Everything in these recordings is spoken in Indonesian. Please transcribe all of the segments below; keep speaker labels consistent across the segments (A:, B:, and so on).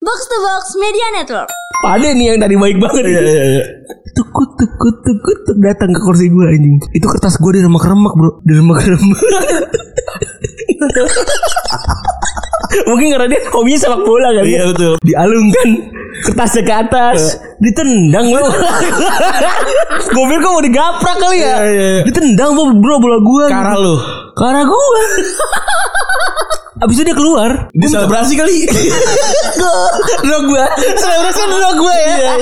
A: Box to Box Media Network.
B: Pade nih yang dari baik banget.
C: Iya, iya, iya.
B: Tukut tukut tukut tuk, datang ke kursi gue anjing. Itu kertas gue di remek-remek, Bro. Di remek-remek. Mungkin karena dia hobinya sepak bola kali
C: Iya,
B: ya.
C: betul.
B: Dialungkan kertasnya ke atas, ditendang lu. Mobil kok mau digaprak kali ya?
C: Iya, iya, iya.
B: Ditendang bro, bro bola gua.
C: Karena lu
B: Karena gua. Abis itu dia keluar.
C: Dia selebrasi kali
B: Drog gua. Selebrasi drog gua ya.
C: Iya,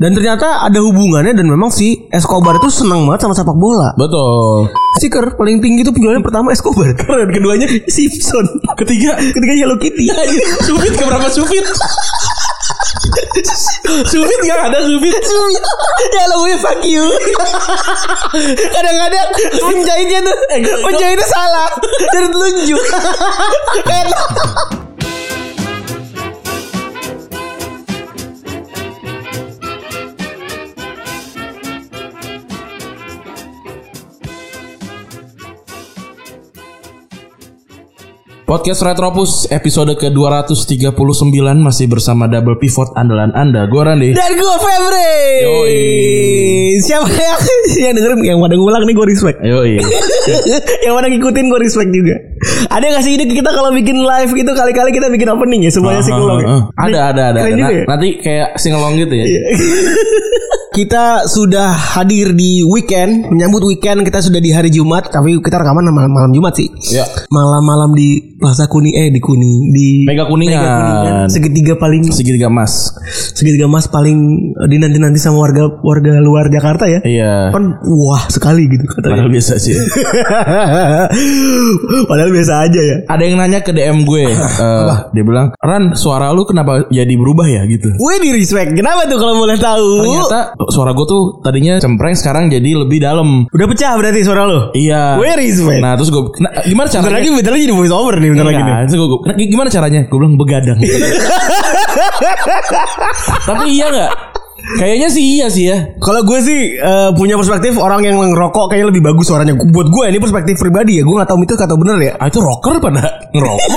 B: Dan ternyata ada hubungannya dan memang si Escobar itu senang banget sama sepak bola.
C: Betul
B: Stiker paling tinggi itu penjualannya pertama Escobar. Keren keduanya Simpson. Ketiga, ketiga Hello Kitty.
C: Sufit keberapa Sufit Sufit gak ada Sufit
B: ya lo gue fuck you. Kadang-kadang penjahitnya tuh
C: Eh,
B: penjahitnya salah. Dari telunjuk. Enak.
C: Podcast Retropus episode ke-239 Masih bersama double pivot andalan anda Gue Randy
B: Dan gue Febri.
C: Yoi.
B: Siapa yang yang dengerin yang pada ngulang nih gue respect.
C: Ayo iya
B: yang mana ngikutin gue respect juga. Ada gak sih ide kita kalau bikin live gitu kali-kali kita bikin opening ya semuanya psikolog. ya?
C: Ada ada ada,
B: Keren
C: ada.
B: juga ya?
C: Nanti kayak singelong gitu ya
B: kita sudah hadir di weekend menyambut weekend kita sudah di hari Jumat tapi kita rekaman malam, malam Jumat sih.
C: Ya.
B: Malam-malam di Plaza Kuning eh di Kuning di
C: Mega kuningan
B: segitiga paling
C: Segitiga emas
B: segitiga mas paling dinanti nanti sama warga warga luar Jakarta ya.
C: Iya
B: Kan wah sekali gitu katanya.
C: Padahal biasa sih
B: Padahal biasa aja ya.
C: Ada yang nanya ke DM gue Eh, Dia bilang Ran suara lu kenapa jadi berubah ya gitu
B: Wih di respect. Kenapa tuh kalau boleh tahu?
C: Ternyata suara gue tuh tadinya cempreng sekarang jadi lebih dalam.
B: Udah pecah berarti suara lo.
C: Iya.
B: Where is man?
C: Nah terus gue gimana
B: bentar
C: caranya?
B: lagi bentar lagi jadi voice over nih bentar lagi nih.
C: Nah, terus gua- gua- gimana caranya? Gue bilang begadang. Tapi iya nggak? Kayaknya sih iya sih ya.
B: Kalau gue sih eh, punya perspektif orang yang ngerokok kayaknya lebih bagus suaranya. Buat gue ini perspektif pribadi ya. Gue nggak tahu itu atau bener ya.
C: Ah, itu rocker pada ngerokok.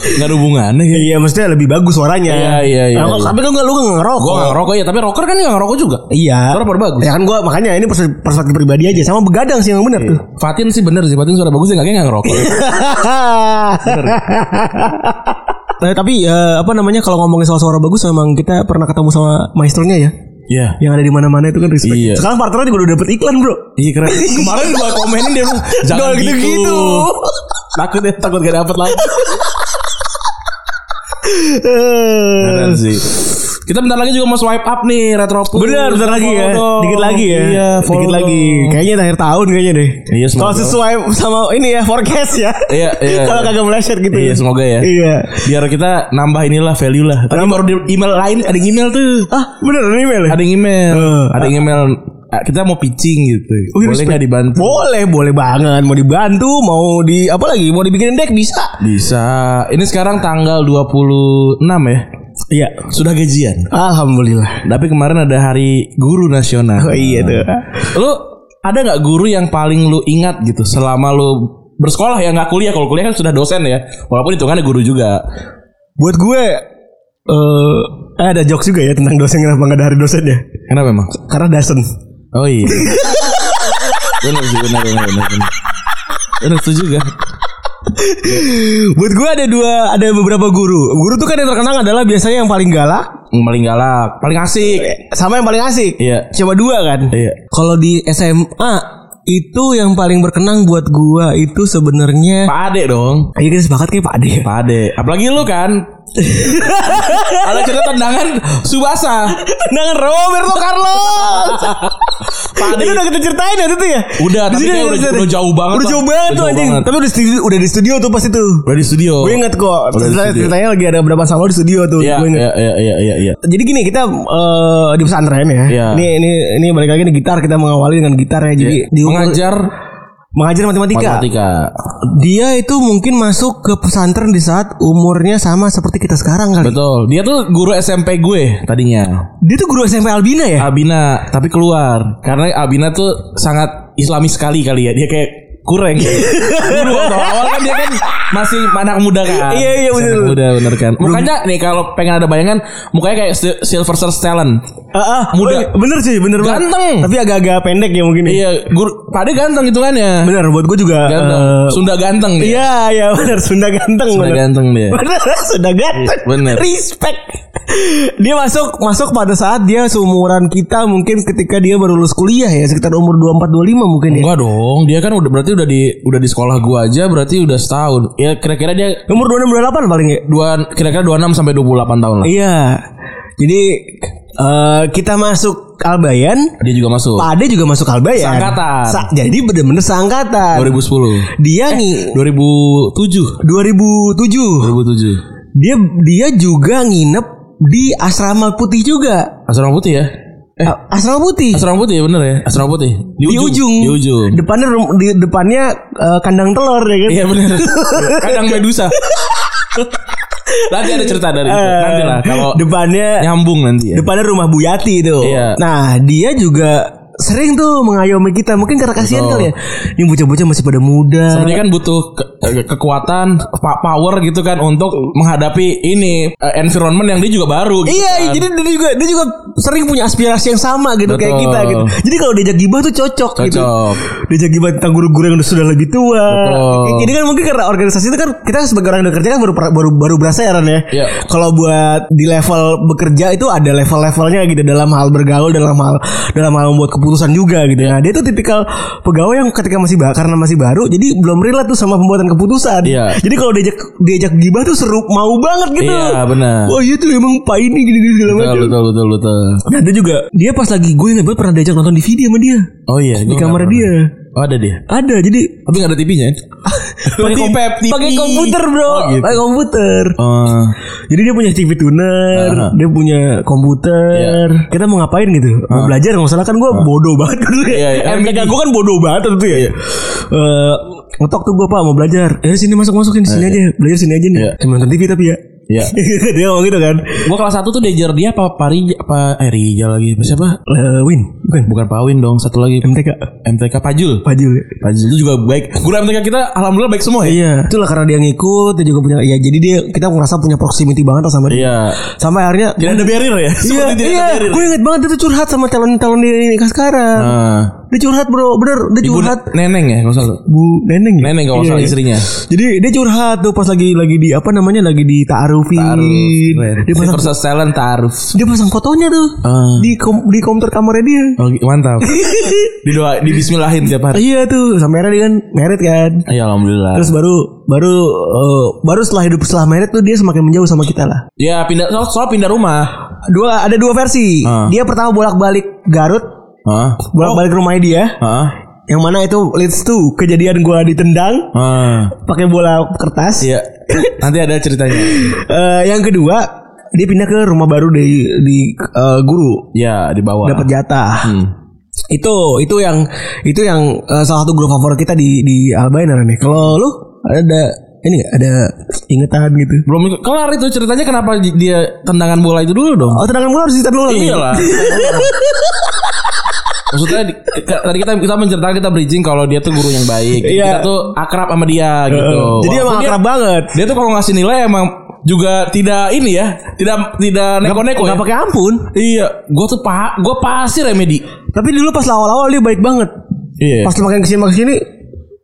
C: Gak ada hubungannya gitu.
B: Iya maksudnya lebih bagus suaranya.
C: Iya, iya, iya,
B: Nah, kalau-
C: iya.
B: Tapi kan lu nggak ngerokok.
C: Gue nggak ngerokok ya, tapi rocker kan nggak ngerokok juga.
B: Iya.
C: Suara pada bagus.
B: Ya kan gue makanya ini perse- perspektif pribadi aja sama begadang sih yang
C: Iya.
B: bener tuh.
C: Fatin sih bener sih, Fatin suara bagus sih nggak kayak nggak ngerokok.
B: Eh, tapi eh, apa namanya kalau ngomongin soal suara bagus memang kita pernah ketemu sama maestronya ya
C: Iya.
B: yang ada di mana-mana itu kan respect.
C: Iya.
B: Sekarang partnernya juga udah dapet iklan bro.
C: Iya keren. Kemarin gua komenin dia bilang, jangan
B: Dol
C: gitu.
B: gitu-gitu."
C: Takut ya takut gak dapet lagi. Keren sih. Eh, Kita bentar lagi juga mau swipe up nih Retropus.
B: Bener, bentar lagi ya.
C: Follow dong.
B: Dikit lagi ya.
C: Iya, follow
B: Dikit lagi.
C: dong.
B: Kayaknya akhir tahun kayaknya deh.
C: Iya, semoga.
B: Kalau sesuai sama ini ya forecast ya.
C: Iya, iya.
B: Kalau kagak meleset gitu.
C: Iya, semoga ya.
B: Iya.
C: Biar kita nambah inilah value lah. Tadi baru di email lain ada yang email tuh.
B: Ah, bener ini Mel.
C: Ada yang email.
B: Eh. Oh,
C: Ada yang email "Ah, kita mau pitching gitu. Boleh nggak dibantu?
B: Boleh, boleh banget. Mau dibantu, mau di apa lagi? Mau dibikinin deck bisa.
C: Bisa. Ini sekarang tanggal 26 ya.
B: Iya.
C: Sudah gajian.
B: Alhamdulillah.
C: Tapi kemarin ada hari guru nasional.
B: Oh iya tuh.
C: Lu ada nggak guru yang paling lu ingat gitu selama lu bersekolah ya nggak kuliah kalau kuliah kan sudah dosen ya walaupun hitungannya guru juga
B: Buat gue eh ada jokes juga ya tentang dosen kenapa nggak ada hari dosen ya?
C: kenapa emang
B: Karena dosen.
C: oh iya benar sih benar benar benar benar benar setuju gak
B: Buat gue ada dua ada beberapa guru. Guru tuh kan yang terkenang adalah biasanya yang paling galak,
C: Yang paling galak paling asik
B: sama yang paling asik.
C: Iya.
B: Cuma dua kan?
C: Iya.
B: Kalau di SMA itu yang paling berkenang buat gua itu sebenarnya
C: Pak Ade dong
B: Iya kita sepakat kayak Pak Ade.
C: Pak Ade apalagi lu kan ada cerita tendangan Subasa
B: Tendangan Roberto Carlos.
C: Pak Ade
B: itu udah kita ceritain ya itu ya.
C: Udah,
B: Di
C: tapi
B: sini
C: kayak
B: ada
C: udah-
B: ceritain.
C: udah jauh banget,
B: Udah
C: Bang.
B: jauh banget
C: Udah
B: tuh
C: jauh
B: anjing.
C: banget.
B: Tapi udah di studio, udah di studio tuh pas itu.
C: udah di studio
B: Gue inget kok.
C: di
B: Ceritanya,
C: Oh. studio.
B: ceritanya lagi ada berapa sama di studio tuh.
C: Iya
B: Gue inget.
C: iya iya iya iya iya
B: Jadi gini kita eh, di pesantren ya.
C: Iya.
B: Ini ini ini balik lagi nih gitar kita mengawali dengan gitar ya. Jadi di umur-
C: mengajar
B: mengajar matematika.
C: matematika
B: Dia itu mungkin masuk ke pesantren di saat umurnya sama seperti kita sekarang kali.
C: Betul. Dia tuh guru SMP gue tadinya.
B: Dia tuh guru SMP Albina ya?
C: Abina, tapi keluar karena Abina tuh sangat Islami sekali kali ya. Dia kayak kurang. Dulu waktu awal kan dia kan masih anak muda kan.
B: Iya, iya,
C: Masih
B: bener.
C: Anak muda bener kan. Mukanya nih kalau pengen ada bayangan mukanya kayak Sil- Sylvester Stallone.
B: Ah, ah,
C: Muda.
B: oh, bener sih, bener banget.
C: Ganteng.
B: Tapi agak-agak pendek ya mungkin. ya.
C: Iya, guru Pade ganteng hitungannya.
B: Bener, buat gue juga.
C: Ganteng.
B: eh,
C: Sunda ganteng dia.
B: Iya, iya bener Sunda ganteng.
C: Sunda
B: bener.
C: ganteng dia.
B: Bener, Sunda ganteng.
C: Iya. Bener.
B: Respect. Dia masuk masuk pada saat dia seumuran kita mungkin ketika dia baru lulus kuliah ya sekitar umur 24 25 mungkin ya.
C: Enggak dong, dia kan udah berarti udah di udah di sekolah gua aja berarti udah setahun. Ya kira-kira dia
B: Umur 26 28 paling ya.
C: dua kira-kira 26 sampai 28 tahun lah.
B: Iya. Jadi eh, kita masuk Albayan,
C: Dia juga masuk
B: Pak Ade juga masuk Albayan.
C: Seangkatan.
B: Sa- jadi bener-bener seangkatan.
C: 2010.
B: Dia nih
C: Eh.
B: 2007.
C: 2007. 2007.
B: Dia dia juga nginep di asrama putih juga.
C: Asrama Putih ya? Eh,
B: A- Asrama putih.
C: Asrama Putih ya bener ya? Asrama Putih.
B: di ujung.
C: Di ujung.
B: Depannya rum- di depannya eh, kandang telur ya kan.
C: Iya bener. Kadang Medusa. nanti ada cerita dari itu.
B: Eh,
C: Nanti lah kalau
B: depannya
C: nyambung nanti ya.
B: depannya rumah Bu Yati itu.
C: Iya.
B: Nah, dia juga sering tuh mengayomi kita. Mungkin karena kasihan
C: Betul.
B: kali ya. Ini bocah-bocah masih pada muda.
C: Sebenarnya kan butuh ke- ke- kekuatan, pa- power gitu kan untuk menghadapi ini eh, environment yang dia juga baru. Gitu
B: Iya,
C: kan.
B: jadi dia juga dia juga sering punya aspirasi yang sama gitu kayak
C: Betul.
B: kita gitu. Jadi kalau diajak gibah tuh cocok, gitu.
C: Cocok.
B: Diajak gibah tentang guru-guru yang udah sudah lebih tua.
C: Betul.
B: Kayak gini kan mungkin karena organisasi itu kan kita sebagai orang yang udah kerja kan baru baru baru berasa ya Ran, ya.
C: Iya.
B: Kalau buat di level bekerja itu ada level-levelnya gitu dalam hal bergaul, dalam hal dalam hal membuat keputusan juga gitu. Nah, dia tuh tipikal pegawai yang ketika masih ba- karena masih baru jadi belum relate tuh sama pembuatan keputusan.
C: Iya.
B: Jadi kalau diajak diajak gibah tuh seru mau banget gitu.
C: Iya, benar.
B: Wah iya tuh emang pak ini gini-gini segala
C: Betul,
B: macam.
C: betul, betul, betul.
B: Nah dia juga dia pas lagi gue ingat banget pernah diajak nonton DVD sama dia
C: Oh iya,
B: di
C: gua
B: kamar
C: nggak
B: dia.
C: pernah. Oh, ada dia.
B: Ada jadi
C: Tapi gak ada TV-nya ya? Pakai kompep, TV.
B: pakai komputer bro,
C: Oh, gitu.
B: pakai komputer.
C: Oh,
B: Jadi dia punya TV tuner,
C: Aha. Iya.
B: dia punya komputer. Kita mau ngapain gitu? Mau belajar nggak salah kan gue bodoh banget dulu ya.
C: Iya, iya.
B: MTK gue kan bodoh banget tentu ya. Eh, Ngetok tuh gue pak mau belajar. Eh sini masuk masukin sini aja, belajar sini aja nih.
C: Iya.
B: Cuma nonton TV tapi ya.
C: Iya.
B: dia ngomong gitu kan.
C: Gua kelas 1 tuh diajar dia apa Parija apa eh Rija lagi. Siapa?
B: Eh, Win, bukan
C: Bukan Pawin dong, satu lagi
B: MTK.
C: MTK Pajul.
B: Fajul.
C: Pajul itu juga baik. Guru MTK kita alhamdulillah baik semua ya.
B: Iya. Itulah karena dia ngikut, dia juga punya ya jadi dia kita ngerasa punya proximity banget lah sama dia.
C: Iya.
B: Sampai akhirnya
C: Tidak ada barrier ya?
B: Iya,
C: Seperti tidak
B: iya.
C: ada barrier.
B: Gue inget banget dia tuh curhat sama calon-calon dia ini sekarang.
C: Nah,
B: Dia curhat bro, bener dia
C: ibu
B: curhat.
C: neneng ya kalau nggak salah.
B: Bu Neneng ya?
C: Neneng kalau nggak
B: Iya,
C: salah
B: iya.
C: istrinya.
B: Jadi dia curhat tuh pas lagi lagi di apa namanya lagi di taarufin. Dia pasang
C: Versus talent Taruf.
B: dia pasang fotonya tuh
C: Ah.
B: di kom, di komputer kamarnya dia.
C: Oh, mantap. Didoa di bismillahin tiap hari.
B: iya tuh, sampai akhirnya dia kan merit kan.
C: Ya alhamdulillah.
B: Terus baru baru eh, baru setelah hidup setelah merit tuh dia semakin menjauh sama kita lah.
C: Ya pindah soal, soal pindah rumah.
B: dua ada dua versi.
C: Ah. Oh.
B: Dia pertama bolak-balik Garut,
C: Hah?
B: bolak-balik rumahnya dia.
C: Hah?
B: Yang mana itu leads to kejadian gua ditendang
C: Hah.
B: pakai bola kertas.
C: Iya. Nanti ada ceritanya.
B: Eh, yang kedua, dia pindah ke rumah baru di di eh, guru,
C: Ya di bawah.
B: dapat jatah.
C: Hmm.
B: Itu itu yang itu yang eh, salah satu guru favorit kita di di Albainer nih. Kalau lu ada ini nggak? ada ingetan gitu.
C: Belum kelar itu ceritanya kenapa di- dia tendangan bola itu dulu dong?
B: Oh, iya tendangan bola harus ditelan ulang. nih.
C: Iyalah. Maksudnya di- ke- tadi kita kita menceritakan kita bridging kalau dia tuh guru yang baik.
B: Iya.
C: Kita tuh akrab sama dia gitu.
B: Eh, Jadi
C: Walaupun
B: emang
C: dia,
B: akrab banget.
C: dia tuh kalau ngasih nilai emang juga tidak ini ya, tidak tidak neko-neko ya.
B: Gak pakai ampun.
C: Iya, gua tuh pa, gua pasir ya Medi.
B: Tapi dulu pas awal-awal dia baik banget.
C: Iya.
B: pas makin kesini makin kesini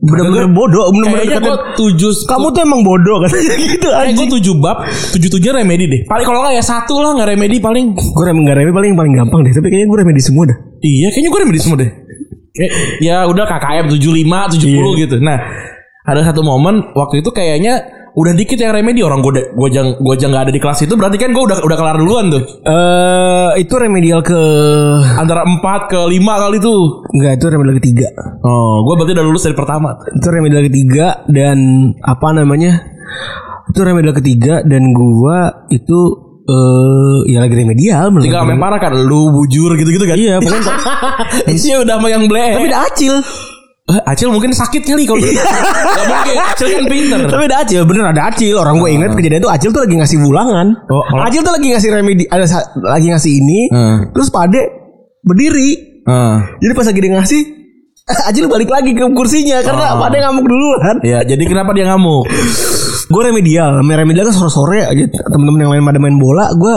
B: bener-bener bodoh bener-bener
C: Kayaknya
B: dikatain,
C: gua tujuh
B: kamu tuh emang bodoh katanya gitu
C: kayak
B: anjing
C: Eh, gua tujuh bab, tujuh tujuh remedi deh. Paling kalau nggak ya satu lah nggak remedi paling.
B: gue rem nggak remedi paling paling gampang deh tapi kayaknya gue remedi semua dah
C: Iya, kayaknya gue remedi semua deh. Kayak, ya udah KKM 75, 70 gitu. Nah, ada satu momen waktu itu kayaknya udah dikit yang remedi orang gue gue jang gue jang nggak ada di kelas itu berarti kan gue udah udah kelar duluan tuh
B: eh itu remedial ke
C: antara 4 ke 5 kali tuh
B: Enggak itu remedial ketiga
C: oh gue berarti udah lulus dari pertama
B: itu remedial ketiga dan apa namanya itu remedial ketiga dan gua itu eh ya lagi remedial menurut
C: tiga
B: gua.
C: main parah kan lu bujur gitu gitu kan
B: iya pokoknya
C: Iya udah sama yang bleh
B: tapi udah acil
C: Eh, Acil mungkin sakit kali kalau Gak mungkin Acil kan pinter
B: tapi ada acil bener Ah. ada acil orang gue ingat kejadian itu acil tuh lagi ngasih ulangan
C: Oh, kalau-
B: acil tuh lagi ngasih remedi ada sa- lagi ngasih ini
C: Hmm.
B: terus pade berdiri
C: Heeh.
B: jadi pas lagi dia ngasih Aji lu balik lagi ke kursinya karena
C: Oh.
B: pada ngamuk dulu kan.
C: Ya, jadi kenapa dia ngamuk?
B: Gue remedial, remedial kan sore-sore aja temen-temen yang main pada main bola, gue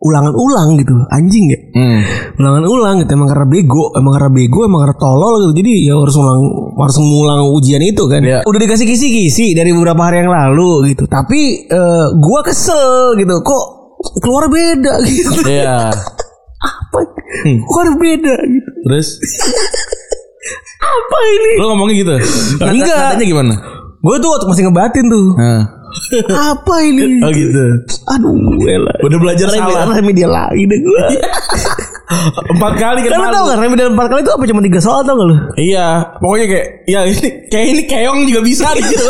B: ulangan-ulang gitu, anjing ya.
C: Hmm.
B: Ulangan-ulang gitu emang karena bego, emang karena bego, emang karena tolol gitu. Jadi ya harus ulang harus ngulang ujian itu kan.
C: Iya.
B: Udah dikasih kisi-kisi dari beberapa hari yang lalu gitu. Tapi eh, gua kesel gitu. Kok keluar beda gitu.
C: Iya. Hmm.
B: Apa? Kok ada beda gitu.
C: Terus
B: Apa ini?
C: lu ngomongnya gitu. Nada-
B: Enggak.
C: Nadanya gimana?
B: Gue tuh waktu masih ngebatin tuh.
C: Nah.
B: Apa ini?
C: Oh gitu.
B: Aduh, elah.
C: Udah belajar
B: Remedial,
C: salah.
B: remedial lagi deh gue.
C: Empat kali kan
B: Karena
C: malu.
B: tau gak remedial empat kali itu apa cuma tiga soal tau gak lu?
C: Iya, pokoknya kayak ya ini kayak ini keong juga bisa gitu.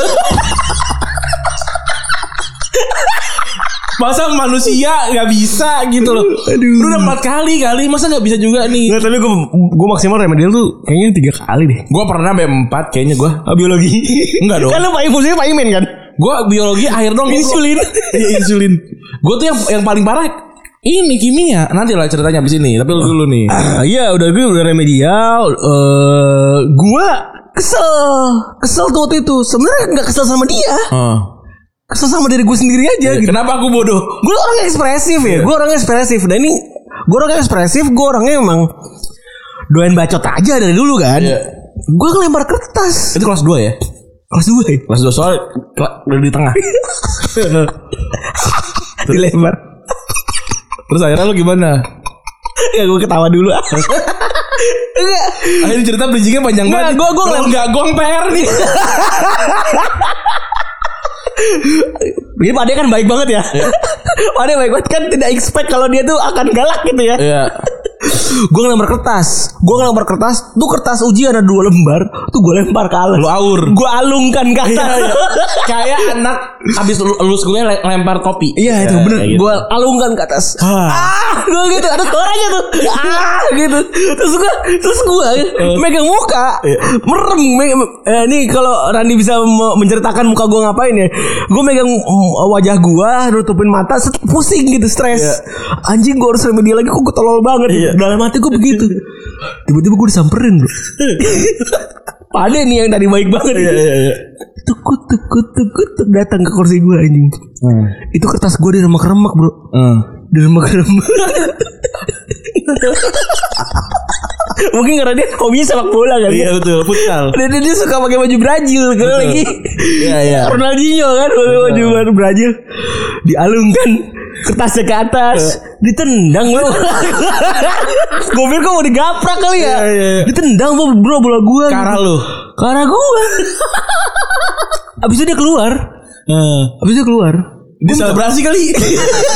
C: masa manusia nggak bisa gitu loh.
B: Aduh.
C: Lu udah empat kali kali, masa nggak bisa juga nih?
B: Enggak, tapi gue gue maksimal remedial tuh kayaknya tiga kali deh.
C: Gua pernah sampai empat kayaknya gua.
B: Ah, biologi.
C: Enggak dong.
B: Kan lu Pak Ibu Pak Imen kan?
C: Gua biologi akhir dong. Insulin. Iya insulin. Gua tuh yang yang paling parah ini kimia. Nanti lah ceritanya abis ini. Tapi lu dulu nih.
B: Ah, Iya, udah gue udah remedial. Eh, gua kesel. Kesel tuh waktu itu. Sebenarnya nggak kesel sama dia.
C: Heeh.
B: Kesel sama diri gue sendiri aja gitu.
C: Kenapa aku bodoh?
B: Gue orang ekspresif ya. Gue orang ekspresif. Dan ini gue orang ekspresif. Gue orangnya emang doain bacot aja dari dulu kan.
C: Iya.
B: Gue ngelempar kertas.
C: Itu kelas 2 ya?
B: Kelas dua ya.
C: Kelas 2 soal kela- udah di tengah.
B: Dilempar.
C: Terus akhirnya lu gimana?
B: Ya gue ketawa dulu. Enggak.
C: Akhirnya cerita bridgingnya panjang
B: Nggak,
C: banget.
B: gua- gua
C: Kalau
B: ngelem-
C: nggak gong PR nih.
B: Jadi Pade kan baik banget ya. Pade baik banget kan tidak expect kalau dia tuh akan galak gitu ya.
C: Iya.
B: Gue ngelamar kertas, gue ngelamar kertas, tuh kertas ujian ada dua lembar, tuh gue lempar ke alas.
C: Lu aur.
B: Gue alungkan ke
C: Iya,
B: atas.
C: iya. Kayak anak habis lu- lulus kuliah le- lempar kopi.
B: Iya itu bener,
C: kayak gitu.
B: gue alungkan ke atas. Ah, gue gitu, ada suaranya tuh. Ah, gitu. Terus gue, terus gue
C: Eh.
B: megang muka,
C: Iya.
B: merem. me- eh, ini kalau Randi bisa me- menceritakan muka gue ngapain ya? Gue megang mm, wajah gue, nutupin mata, set- pusing gitu, stres.
C: Iya.
B: Anjing gue harus remedial lagi, kok gue tolol banget. Dalam hati gue begitu. Tiba-tiba gue disamperin bro. Pade nih yang tadi baik banget.
C: Iya,
B: Tukut tukut tukut tuk, datang ke kursi gue anjing. Itu kertas gue di remek-remek bro.
C: Hmm.
B: Di remek-remek. Mungkin karena dia hobinya sepak bola kali.
C: Iya
B: ya.
C: betul, futsal.
B: Dan dia, dia suka pakai baju Brazil karena lagi
C: Iya, iya.
B: Ronaldinho kan pakai baju baju Brazil. Dialungkan kertasnya ke atas,
C: Iya.
B: ditendang lo. gue pikir kok mau digaprak kali ya.
C: Iya, iya, iya.
B: Ditendang bro, bro bola gua.
C: Karena lu.
B: Karena gua. Abis itu dia keluar. Abis itu keluar.
C: Dia Hmm. selebrasi kali.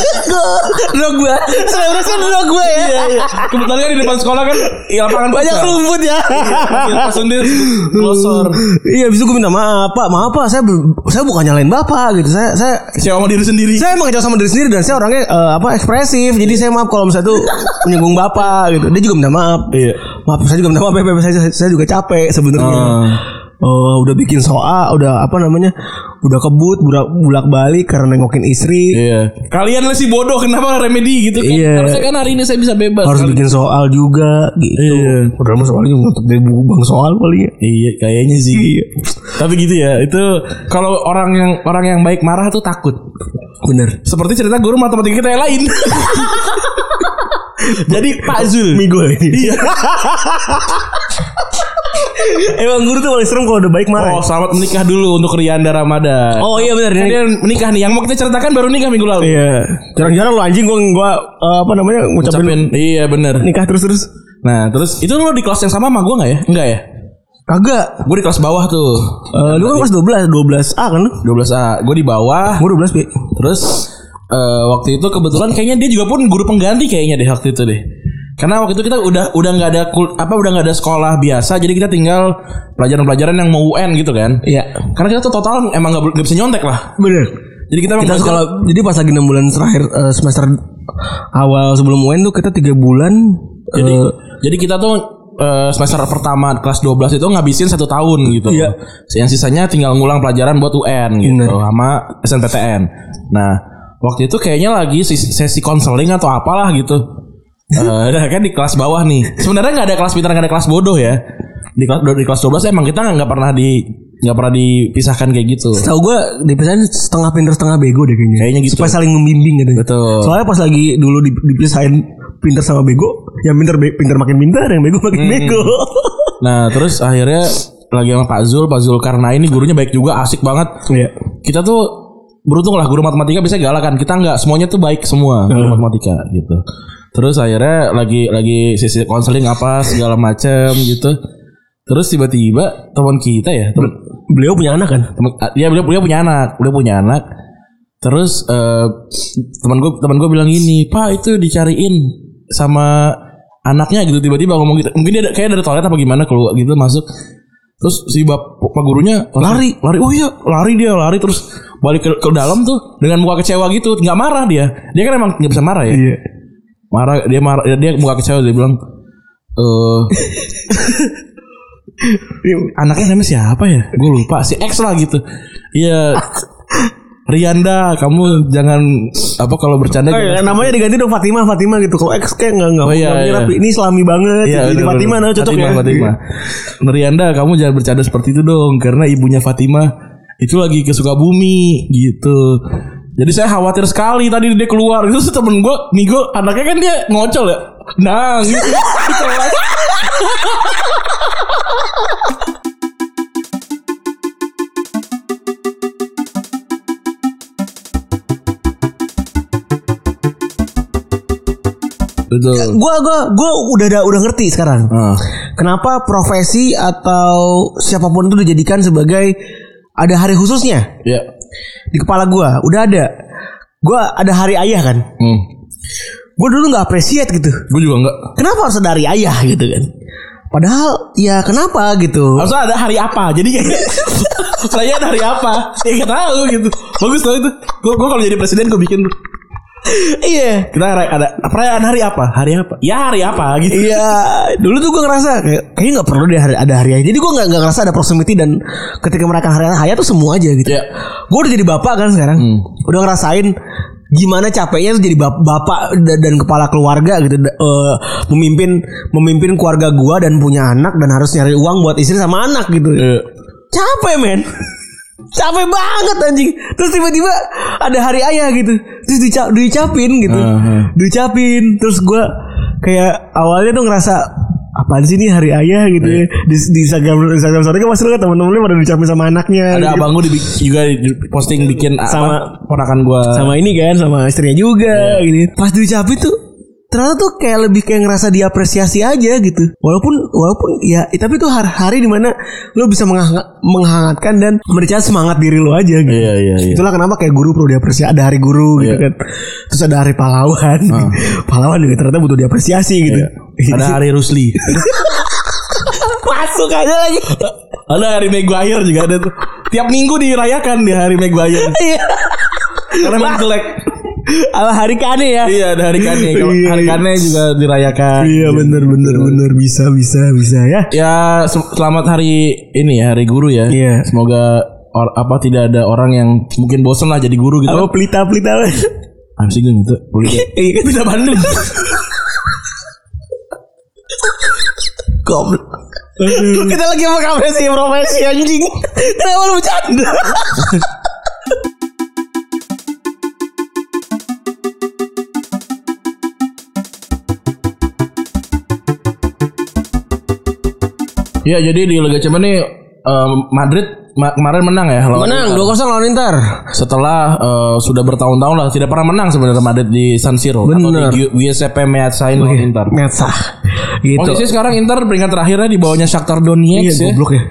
B: Drog gua. Selebrasi kan drog gua ya.
C: Kebetulan kan di depan sekolah kan ya lapangan
B: Banyak
C: futsal.
B: rumput ya.
C: Pas undir klosor.
B: Iya, abis itu gua minta maaf, Pak. Maaf, Pak. Saya ber- saya bukan nyalain Bapak gitu. Saya saya
C: Siapa sama diri sendiri.
B: saya emang kecewa sama diri sendiri dan saya orangnya eh, apa ekspresif. Jadi saya maaf kalau misalnya tuh menyinggung Bapak gitu. Dia juga minta maaf.
C: Iya.
B: Maaf, saya juga minta maaf. Bapak. Saya saya juga capek sebenarnya.
C: Ah.
B: Eh, udah bikin soal, udah apa namanya? Udah kebut, bulak balik karena nengokin istri.
C: Iya. Kalian lah si bodoh kenapa remedi gitu kan?
B: Iya.
C: Harusnya kan hari ini saya bisa bebas.
B: harus bikin soal juga gitu.
C: Iya.
B: Padahal mah soalnya untuk dari buku bang soal paling ya.
C: Iya, kayaknya sih. Tapi gitu ya, itu kalau orang yang orang yang baik marah tuh takut.
B: Bener.
C: Seperti cerita guru matematika kita yang lain. Jadi Pak Zul.
B: Migol ini. Emang guru tuh paling serem kalau udah baik marah. ya?
C: Oh, selamat menikah dulu untuk Rianda Ramadan.
B: Oh, iya benar.
C: Ini dia menikah nih. Yang mau kita ceritakan baru nikah minggu lalu.
B: Iya. Jarang-jarang lo anjing gua gua eh, apa namanya ngucapin
C: Ucapin. Iya, bener.
B: nikah terus-terus.
C: Nah, terus itu lo di kelas yang sama sama gue gak ya? Enggak ya?
B: Kagak.
C: Gue di kelas bawah tuh.
B: Eh, lu kan kelas 12, 12A kan lu?
C: 12A. Gue di bawah.
B: Gua 12B.
C: Terus eh, waktu itu kebetulan kayaknya dia juga pun guru pengganti kayaknya deh waktu itu deh. Karena waktu itu kita udah udah nggak ada kul- apa udah nggak ada sekolah biasa, jadi kita tinggal pelajaran-pelajaran yang mau UN gitu kan.
B: Iya.
C: Karena kita tuh total emang nggak ber- nggak bisa nyontek lah.
B: Bener.
C: Jadi kita, emang
B: Kita
C: belajar-
B: sekolah jadi pas lagi 6 bulan terakhir eh, semester awal sebelum UN tuh kita 3 bulan
C: jadi,
B: eh,
C: jadi kita tuh eh, semester pertama kelas 12 itu ngabisin satu tahun gitu.
B: Iya.
C: Yang sisanya tinggal ngulang pelajaran buat UN gitu
B: Bener.
C: sama SNPTN. Nah, waktu itu kayaknya lagi sis- sesi konseling atau apalah gitu. Eh, nah kan di kelas bawah nih. Sebenarnya nggak ada kelas pintar, nggak ada kelas bodoh ya. di kelas di kelas 12 emang kita nggak pernah di nggak pernah dipisahkan kayak gitu.
B: Tahu gue dipisahin setengah pinter setengah bego deh kayaknya.
C: Kayaknya gitu.
B: Supaya saling membimbing gitu.
C: Betul.
B: Soalnya pas lagi dulu dip- dipisahin pinter sama bego, yang pinter be- pinter makin pinter, yang bego makin bego.
C: Nah, terus akhirnya lagi sama Pak Zul, Pak Zul karena ini gurunya baik juga, asik banget.
B: Iya.
C: Kita tuh beruntung lah guru matematika bisa galak kan. Kita nggak semuanya tuh baik semua guru matematika gitu. Terus akhirnya lagi lagi sesi konseling apa segala macem gitu. Terus tiba-tiba teman kita ya, teman
B: Beliau punya anak kan?
C: temen- ah, dia beliau, beliau punya anak beliau punya anak terus eh, teman gue teman gue bilang gini pak itu dicariin sama anaknya gitu tiba-tiba ngomong gitu mungkin dia ada- kayak dari toilet apa gimana keluar gitu masuk terus si bap- pak gurunya lari lari oh iya lari dia lari terus balik ke, ke dalam tuh dengan muka kecewa gitu nggak marah dia dia kan emang nggak bisa marah ya
B: Iya.
C: marah dia marah dia muka kecewa dia bilang eh anaknya namanya siapa ya? Gue lupa si X lah gitu. Iya. Rianda, kamu jangan apa kalau
B: Eh,
C: bercanda jangan-
B: namanya diganti dong Fatima Fatima gitu. Kalau X kayak enggak enggak
C: Iya, Oh, iya, iya.
B: rapi. Ini islami banget. Jadi
C: bener-bener.
B: Fatima nah cocok
C: Fatima,
B: ya.
C: Fatima. Rianda, kamu jangan bercanda seperti itu dong karena ibunya Fatima itu lagi ke Sukabumi gitu. Jadi saya khawatir sekali tadi dia keluar itu temen gue Nigo anaknya kan dia ngocol ya. Nah, gitu. Betul.
B: Gua gua gua udah ada- udah ngerti sekarang.
C: Ah.
B: Kenapa profesi atau siapapun itu dijadikan sebagai ada hari khususnya
C: Ya.
B: di kepala gua udah ada gua ada hari ayah kan
C: Hmm.
B: gua dulu nggak appreciate gitu
C: Gue juga enggak.
B: kenapa harus ada hari ayah gitu kan padahal ya kenapa gitu
C: Harusnya ada hari apa? Jadi kayak saya ada hari apa? Ya nggak tahu gitu. Bagus tau itu. Gue kalau jadi presiden gue bikin
B: iya
C: kita ada, ada perayaan hari apa? Hari apa? Ya hari apa gitu.
B: Iya, dulu tuh gue ngerasa kayak kayaknya nggak perlu deh hari, ada hari ayah. Jadi gue nggak nggak ngerasa ada proximity dan ketika merayakan hari ayah tuh semua aja gitu.
C: Iya. Hmm.
B: Gue udah jadi bapak kan sekarang, udah ngerasain gimana capeknya tuh jadi bap- bapak da- dan kepala keluarga gitu, da- eh, memimpin memimpin keluarga gue dan punya anak dan harus nyari uang buat istri sama anak gitu.
C: Iya.
B: Capek men. Capek banget anjing Terus tiba-tiba ada hari ayah gitu Terus dica- diucapin gitu
C: Aha.
B: Diucapin Terus gua kayak awalnya tuh ngerasa Apaan sih nih hari ayah gitu ya
C: Iya.
B: Di, di Instagram, Instagram story kan pasti lu kan temen-temennya pada diucapin sama anaknya
C: Ada
B: gitu.
C: abang gue juga di- posting bikin apa,
B: Sama-
C: ponakan gue.
B: Sama ini kan sama istrinya juga
C: Iya.
B: gitu Pas diucapin tuh Ternyata tuh kayak lebih kayak ngerasa diapresiasi aja gitu Walaupun walaupun ya Tapi tuh hari, hari dimana Lu bisa menghang- menghangatkan dan Merica semangat diri lu aja gitu
C: Iya iya iya.
B: Itulah kenapa kayak guru perlu diapresiasi. Ada hari guru gitu
C: Iya. Ah.
B: kan. Terus ada hari pahlawan. pahlawan juga ternyata butuh diapresiasi gitu.
C: Iya. Ada hari Rusli.
B: Masuk aja lagi.
C: ada hari Maguire juga ada tuh. Tiap minggu dirayakan di hari Maguire.
B: Iya.
C: Karena emang jelek.
B: Ala hari kane ya.
C: Iya ada hari Kane. Kalau
B: Iya,
C: Hari
B: iya.
C: Kane juga dirayakan.
B: Iya bener bener bener bisa bisa bisa ya.
C: Ya se- selamat hari ini ya hari guru ya.
B: Iya.
C: Semoga or- apa tidak ada orang yang mungkin bosen lah jadi guru gitu.
B: Apa Oh, pelita pelita?
C: Apa sih gitu? Boleh.
B: Iya kan bisa Bandung. Goblok. Kita lagi mau profesi profesi anjing. Kenapa lu bercanda?
C: Ya jadi di Liga Champions nih eh, Madrid ma- kemarin menang ya lawan
B: Menang 2-0 lawan Inter.
C: setelah eh, sudah bertahun-tahun lah tidak pernah menang sebenarnya Madrid di San Siro
B: Bener.
C: atau di Giuseppe Meazzain lawan Inter.
B: Metsah. Gitu.
C: Posisi sekarang Inter peringkat terakhirnya di bawahnya Shakhtar Donetsk ya.
B: goblok ya.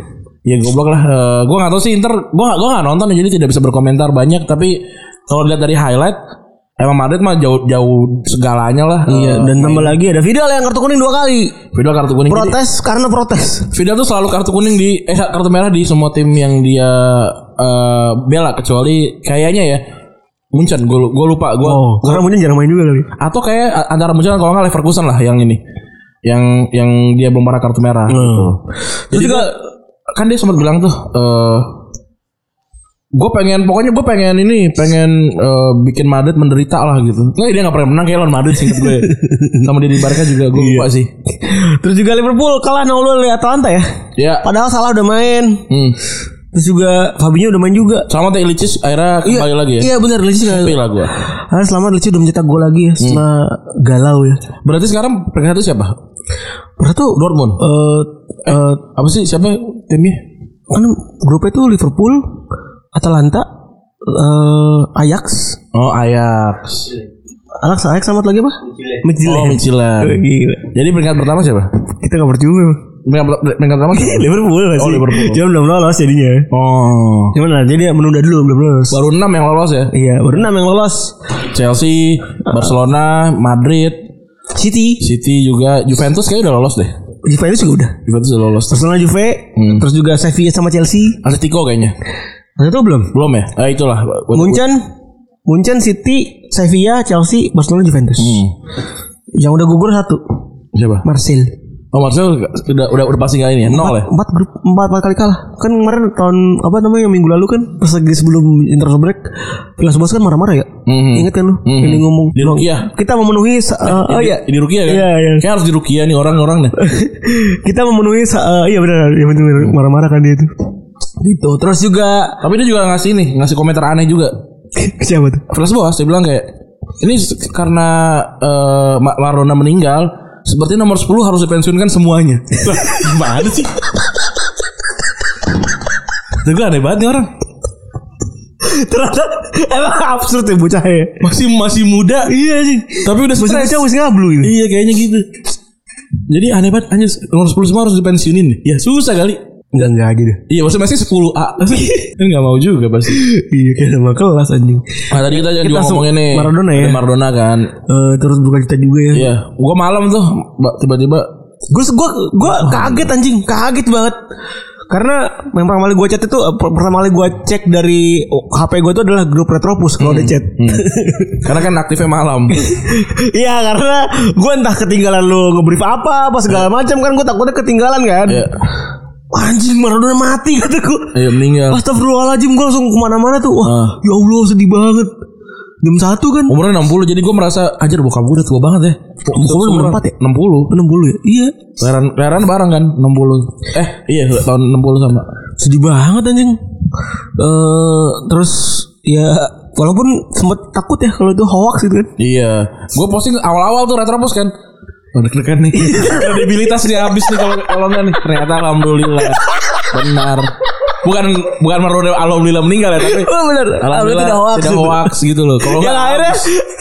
C: Ya goblok lah. Eh, gua nggak tahu sih Inter. Gua nggak- gua nggak nonton jadi tidak bisa berkomentar banyak. Tapi kalau lihat dari highlight, emang Madrid mah jauh jauh segalanya lah.
B: Iya, dan tambah lagi ada Vidal yang kartu kuning dua kali.
C: Vidal kartu kuning. Jadi,
B: Protes karena protes.
C: Vidal tuh selalu kartu kuning di eh kartu merah di semua tim yang dia eh, bela kecuali kayaknya ya Munchen. Gue lupa. Gua
B: Oh, karena Munchen jarang main juga kali.
C: atau kayak a- antara Munchen kalau nggak Leverkusen lah yang ini yang yang dia belum pernah kartu
B: Hmm.
C: merah gitu. Jadi
B: Terus juga
C: kan dia sempat bilang tuh eh gue pengen pokoknya gue pengen ini pengen eh, bikin Madrid menderita lah gitu. Nah, dia nggak pernah menang kayak lawan Madrid sih gue. Sama dia di Barca juga
B: Iya.
C: gue lupa sih.
B: Terus juga Liverpool kalah 0-2 dari Atalanta ya.
C: Ya.
B: Padahal salah udah main.
C: Hmm.
B: Terus juga Fabinho udah main juga.
C: Selamat ya Ilicis akhirnya kembali lagi ya.
B: Iya benar Leci udah.
C: Tapi lah gue.
B: Ah, selamat Leci udah mencetak gol lagi ya setelah galau ya.
C: Berarti sekarang peringkat satu siapa?
B: Berarti tuh
C: Dortmund.
B: eh eh,
C: Apa sih siapa timnya?
B: kan grupnya tuh Liverpool, Atalanta, eh Ajax.
C: Oh Ajax.
B: Ajax Ajax selamat lagi apa?
C: Oh
B: Midtjylland.
C: Michelin.
B: Gila.
C: Jadi peringkat pertama siapa?
B: Kita gak percuma.
C: Peringkat, peringkat pertama siapa?
B: Eh, Liverpool
C: Oh, Liverpool.
B: Cuma belum lolos jadinya.
C: Oh.
B: Cuman nah, jadi dia menunda dulu belum lolos.
C: Baru 6 yang lolos ya.
B: Iya, baru enam yang lolos.
C: Chelsea, Barcelona, Madrid,
B: City,
C: City juga, Juventus kayaknya udah lolos deh.
B: Juventus juga udah.
C: Juventus udah lolos. Terus
B: Barcelona Juve,
C: Hmm.
B: terus juga Sevilla sama Chelsea.
C: Atletico kayaknya.
B: Ada tuh belum?
C: Belum ya? Eh itulah.
B: Munchen, Munchen City, Sevilla, Chelsea, Barcelona Juventus.
C: Hmm.
B: Yang udah gugur satu,
C: Siapa?
B: Marseille.
C: Oh Marcel udah udah udah pasti kali ini ya. Nol ya.
B: Empat grup empat, empat kali kalah. Kan kemarin tahun apa namanya minggu lalu kan pas lagi sebelum international break, Vilas Boas kan marah-marah ya.
C: Mhm.
B: Ingat kan lu?
C: Mhm.
B: Ini ngomong.
C: Di
B: "Bang,
C: Rukiah."
B: Kita memenuhi sa- eh, oh iya.
C: Di Rukia kan?
B: Iya, iya.
C: Kayaknya harus di Rukia nih orang-orang deh.
B: kita memenuhi sa- eh, iya benar iya benar benar. marah-marah kan dia itu. Gitu. Terus juga
C: Tapi dia juga ngasih ini, ngasih komentar aneh juga.
B: siapa tuh?
C: Flash Boas dia bilang kayak ini se- karena eh, Ma- Maradona meninggal seperti nomor 10 harus dipensiunkan semuanya. Lah, gimana sih? Tuh gue aneh banget nih orang.
B: Ternyata emang absurd ya bocah ya.
C: Masih masih muda,
B: Iya sih.
C: tapi udah
B: Masih
C: stres.
B: bocah masih ngablu ini.
C: Iya, kayaknya gitu. Jadi aneh banget anjir nomor 10 semua harus dipensiunin. nih. Ya susah kali.
B: Enggak enggak aja deh.
C: Iya, maksudnya masih 10A. Kan enggak mau juga pasti.
B: Iya kayak sama kelas anjing.
C: Nah, tadi kita, juga
B: langsung
C: ngomongin nih
B: Maradona ya?
C: Ada Maradona kan.
B: Eh terus buka cerita juga ya.
C: Iya, gua malam tuh ba- tiba-tiba
B: Gue gue
C: Oh.
B: gue kaget anjing, kaget banget. Karena yang pertama kali gue chat itu eh, per- pertama kali gue cek dari oh, HP gue itu adalah grup Retropus kalau
C: Hmm.
B: udah chat.
C: karena kan aktifnya malam.
B: Iya karena gue entah ketinggalan lu ngebrief apa apa segala macam kan gue takutnya ketinggalan kan.
C: Iya.
B: Anjing Maradona mati kata gue.
C: Iya meninggal.
B: Astagfirullahaladzim gue langsung kemana-mana tuh. Wah
C: Ah. Oh.
B: ya Allah sedih banget. Jam satu kan.
C: Umurnya 60 jadi gue merasa anjir bokap gue udah tua banget ya.
B: Bokap lu 64 ya?
C: 60.
B: 60 ya? Iya
C: Leran leran bareng kan 60. Eh iya tahun 60 sama.
B: sedih banget anjing eh terus ya walaupun sempet takut ya kalau itu hoax gitu kan
C: Iya. Gue posting awal-awal tuh retropus kan. Wah, Deg-degan nih. Kredibilitasnya habis nih kalau kalau enggak nih. Ternyata alhamdulillah. Benar. Bukan bukan merode alhamdulillah meninggal ya tapi
B: oh bener
C: alhamdulillah tidak hoax,
B: gitu.
C: gitu loh. Kalau
B: yang
C: nggak-
B: akhirnya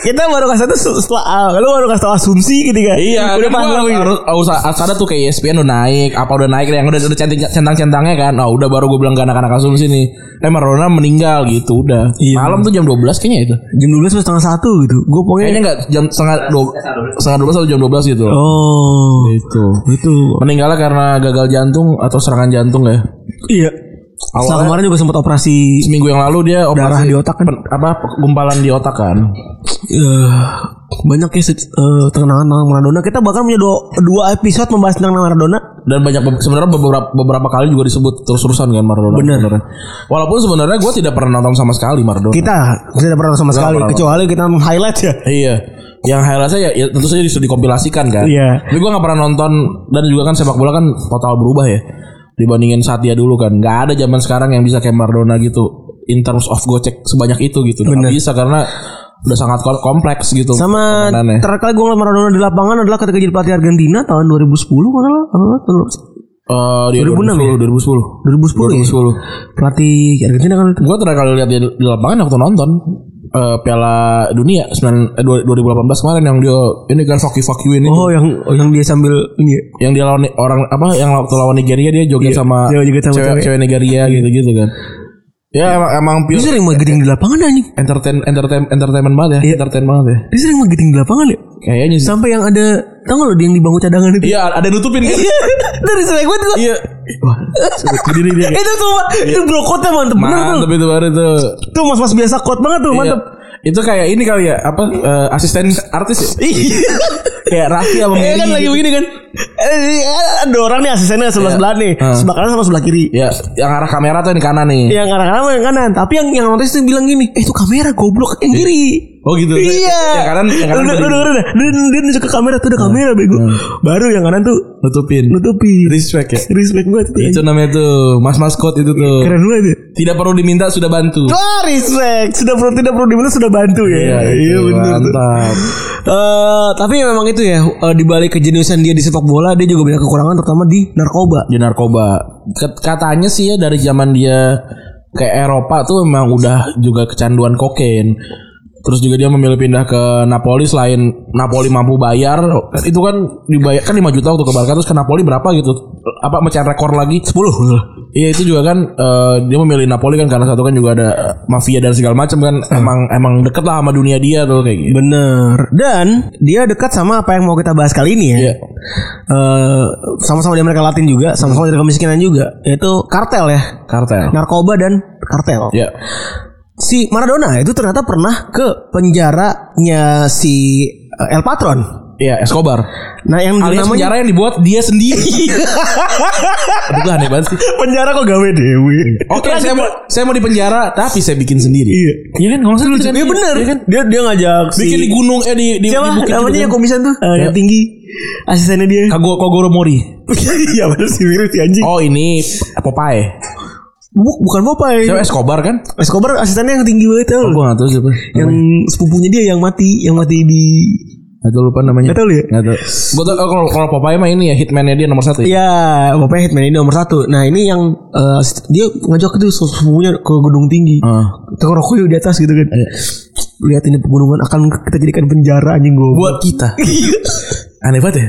B: kita baru kasih tahu setelah ah, lu baru kasih tahu asumsi gitu kan
C: Iya,
B: udah
C: udah kan
B: paham
C: gua
B: gitu.
C: harus harus harus ada tuh kayak E ESPN udah naik, apa udah naik yang udah udah centang centang centangnya kan. Oh, udah baru gue bilang ke anak-anak asumsi nih. Eh Maradona meninggal gitu udah.
B: Iya.
C: Malam tuh jam 12 kayaknya itu.
B: jam 12 sampai setengah satu gitu gue pokoknya
C: Kayaknya enggak jam setengah dua, setengah 12 atau jam 12 gitu.
B: oh
C: Itu.
B: itu
C: Meninggalnya karena gagal jantung atau serangan jantung ya.
B: iya
C: Awalnya-
B: setelah kemarin juga sempat operasi
C: Seminggu yang lalu dia operasi
B: darah di otak kan
C: pen- apa gumpalan di otak kan.
B: Eh, banyak ya se- eh, kenangan tentang Maradona kita bahkan punya dua, dua episode membahas tentang Maradona
C: Dan banyak be- sebenarnya beberapa beberapa kali juga disebut terus-terusan kan Maradona.
B: Bener.
C: sebenarnya. Walaupun sebenarnya gue tidak pernah nonton sama sekali Maradona.
B: Kita tidak pernah sama sekali
C: pernah.
B: kecuali kita highlight ya.
C: Iya. Yang highlightnya ya, ya tentu saja sudah dikompilasikan kan.
B: Iya.
C: Tapi gue nggak pernah nonton dan juga kan sepak bola kan total berubah ya. Dibandingin saat dia dulu kan, nggak ada zaman sekarang yang bisa kayak Maradona gitu in terms of gocek sebanyak itu gitu. Nggak bisa karena udah sangat kom- kompleks gitu.
B: Sama
C: permainannya.
B: terakhir kali gue ngeliat Maradona di lapangan adalah ketika jadi pelatih Argentina tahun 2010 kan lah. Apa, tahun berapa sih?
C: Eh, dia
B: 2006 ya? 2010
C: 2010.
B: ya?
C: 2010.
B: Pelatih Argentina kan itu.
C: Gue terakhir kali lihat dia di di lapangan waktu nonton eh, Piala Dunia 9, eh, 2018 kemarin yang dia ini kan fuck you fuck you ini.
B: Oh yang yang dia sambil ini ya.
C: yang dia lawan orang apa yang waktu lawan Nigeria dia joget sama
B: Iya, dia joget sama
C: cewek,
B: cewek. Hmm.
C: cewek Nigeria gitu-gitu kan. Ya emang emang
B: Dia
C: pure
B: sering mageting di lapangan anjing.
C: entertain entertain entertainment banget ya,
B: Iya.
C: entertain banget ya.
B: Dia sering mageting di lapangan ya.
C: Kayaknya sih.
B: Sampai yang ada tau gak lo dia yang di bangku cadangan itu.
C: Iya, ada yang nutupin kan.
B: Dari sering banget gue.
C: Iya. Wah, berdiri
B: Eh,
C: dia. kayak-
B: Itu tuh itu brokotnya mantep bener tuh.
C: Mantep itu baru tuh.
B: Tuh mas-mas biasa kuat banget tuh
C: Iya.
B: mantep.
C: Itu kayak ini kali ya apa eh, asisten artis ya? kayak Raffi sama
B: Iya
C: Mary.
B: kan lagi
C: gitu.
B: begini kan. Eh, Ada orang nih asistennya sebelah sebelah nih,
C: Iya. Heeh.
B: sebelah kanan sama sebelah kiri.
C: Ya, yang arah kamera tuh yang di kanan nih.
B: Yang kanan kanan sama yang kanan, tapi yang yang notice tuh bilang gini, "Eh itu kamera goblok yang kiri."
C: Oh gitu.
B: Iya.
C: Yang kanan yang kanan
B: Udah, udah,
C: berdiri.
B: udah, udah. Dia, dia nunjuk ke kamera tuh ada kamera bego. Baru yang kanan tuh
C: nutupin.
B: nutupi.
C: Respect ya.
B: Respect banget.
C: Itu namanya tuh Mas Maskot itu tuh.
B: Keren banget. ya.
C: Tidak perlu diminta sudah bantu.
B: Wah, respect. Sudah perlu tidak perlu diminta sudah bantu ya.
C: Iya, itu,
B: bener tuh.
C: Mantap.
B: Eh, tapi memang itu ya eh, di balik kejeniusan dia di sepak bola dia juga banyak kekurangan terutama di narkoba.
C: Di narkoba. Ket- Katanya sih ya dari zaman dia ke Eropa tuh memang udah juga kecanduan kokain. Terus juga dia memilih pindah ke Napoli selain Napoli mampu bayar itu kan dibayar kan 5 juta untuk ke Barca terus ke Napoli berapa gitu apa mencari rekor lagi 10 Iya itu juga kan eh, dia memilih Napoli kan karena satu kan juga ada eh, mafia dan segala macam kan emang emang deket lah sama dunia dia tuh kayak gitu.
B: Hmm. Bener. Dan dia dekat sama apa yang mau kita bahas kali ini ya.
C: Iya.
B: Eh, sama-sama di Amerika Latin juga, sama-sama dari kemiskinan juga, yaitu kartel ya.
C: Kartel.
B: Narkoba dan kartel.
C: Iya.
B: si Maradona itu ternyata pernah ke penjaranya si eh, El Patron.
C: Iya, Escobar.
B: Nah yang Iya.
C: Alias penjara yang dibuat dia sendiri. Aduh aneh banget sih.
B: penjara kok gawe dewi.
C: Oke, saya mau saya mau di penjara tapi saya bikin sendiri.
B: Iya.
C: Iya kan kalau saya
B: Iya bener
C: Iya kan?
B: Dia dia ngajak
C: Bikin di gunung eh di di,
B: Siapa
C: di bukit
B: namanya
C: gitu
B: yang
C: kan.
B: komisan tuh Eh, Yang tinggi Asistennya dia
C: Kago Kogoro Mori.
B: Iya bener sih mirip si anjing
C: Oh, ini Popeye.
B: Bu- Bukan Popeye
C: Siapa Escobar kan?
B: Escobar asistennya yang tinggi banget tau
C: Oh, iya. gue gak tahu siapa.
B: Yang sepupunya dia yang mati Yang mati di
C: Gak tau lupa namanya.
B: Gak tau lu ya?
C: Gak tau. Gua tau, eh, kalau kalau Popeye mah ini ya hitman-nya dia nomor satu. ya?
B: Iya Popeye Hitman ini nomor satu Nah ini yang eh, asisten- Dia ngajak itu sepupunya ke gedung tinggi
C: Heeh.
B: Kita ngerokok yuk di atas gitu kan.
C: Iya.
B: Lihat ini pegunungan akan kita jadikan penjara anjing gue.
C: buat kita. Aneh banget ya.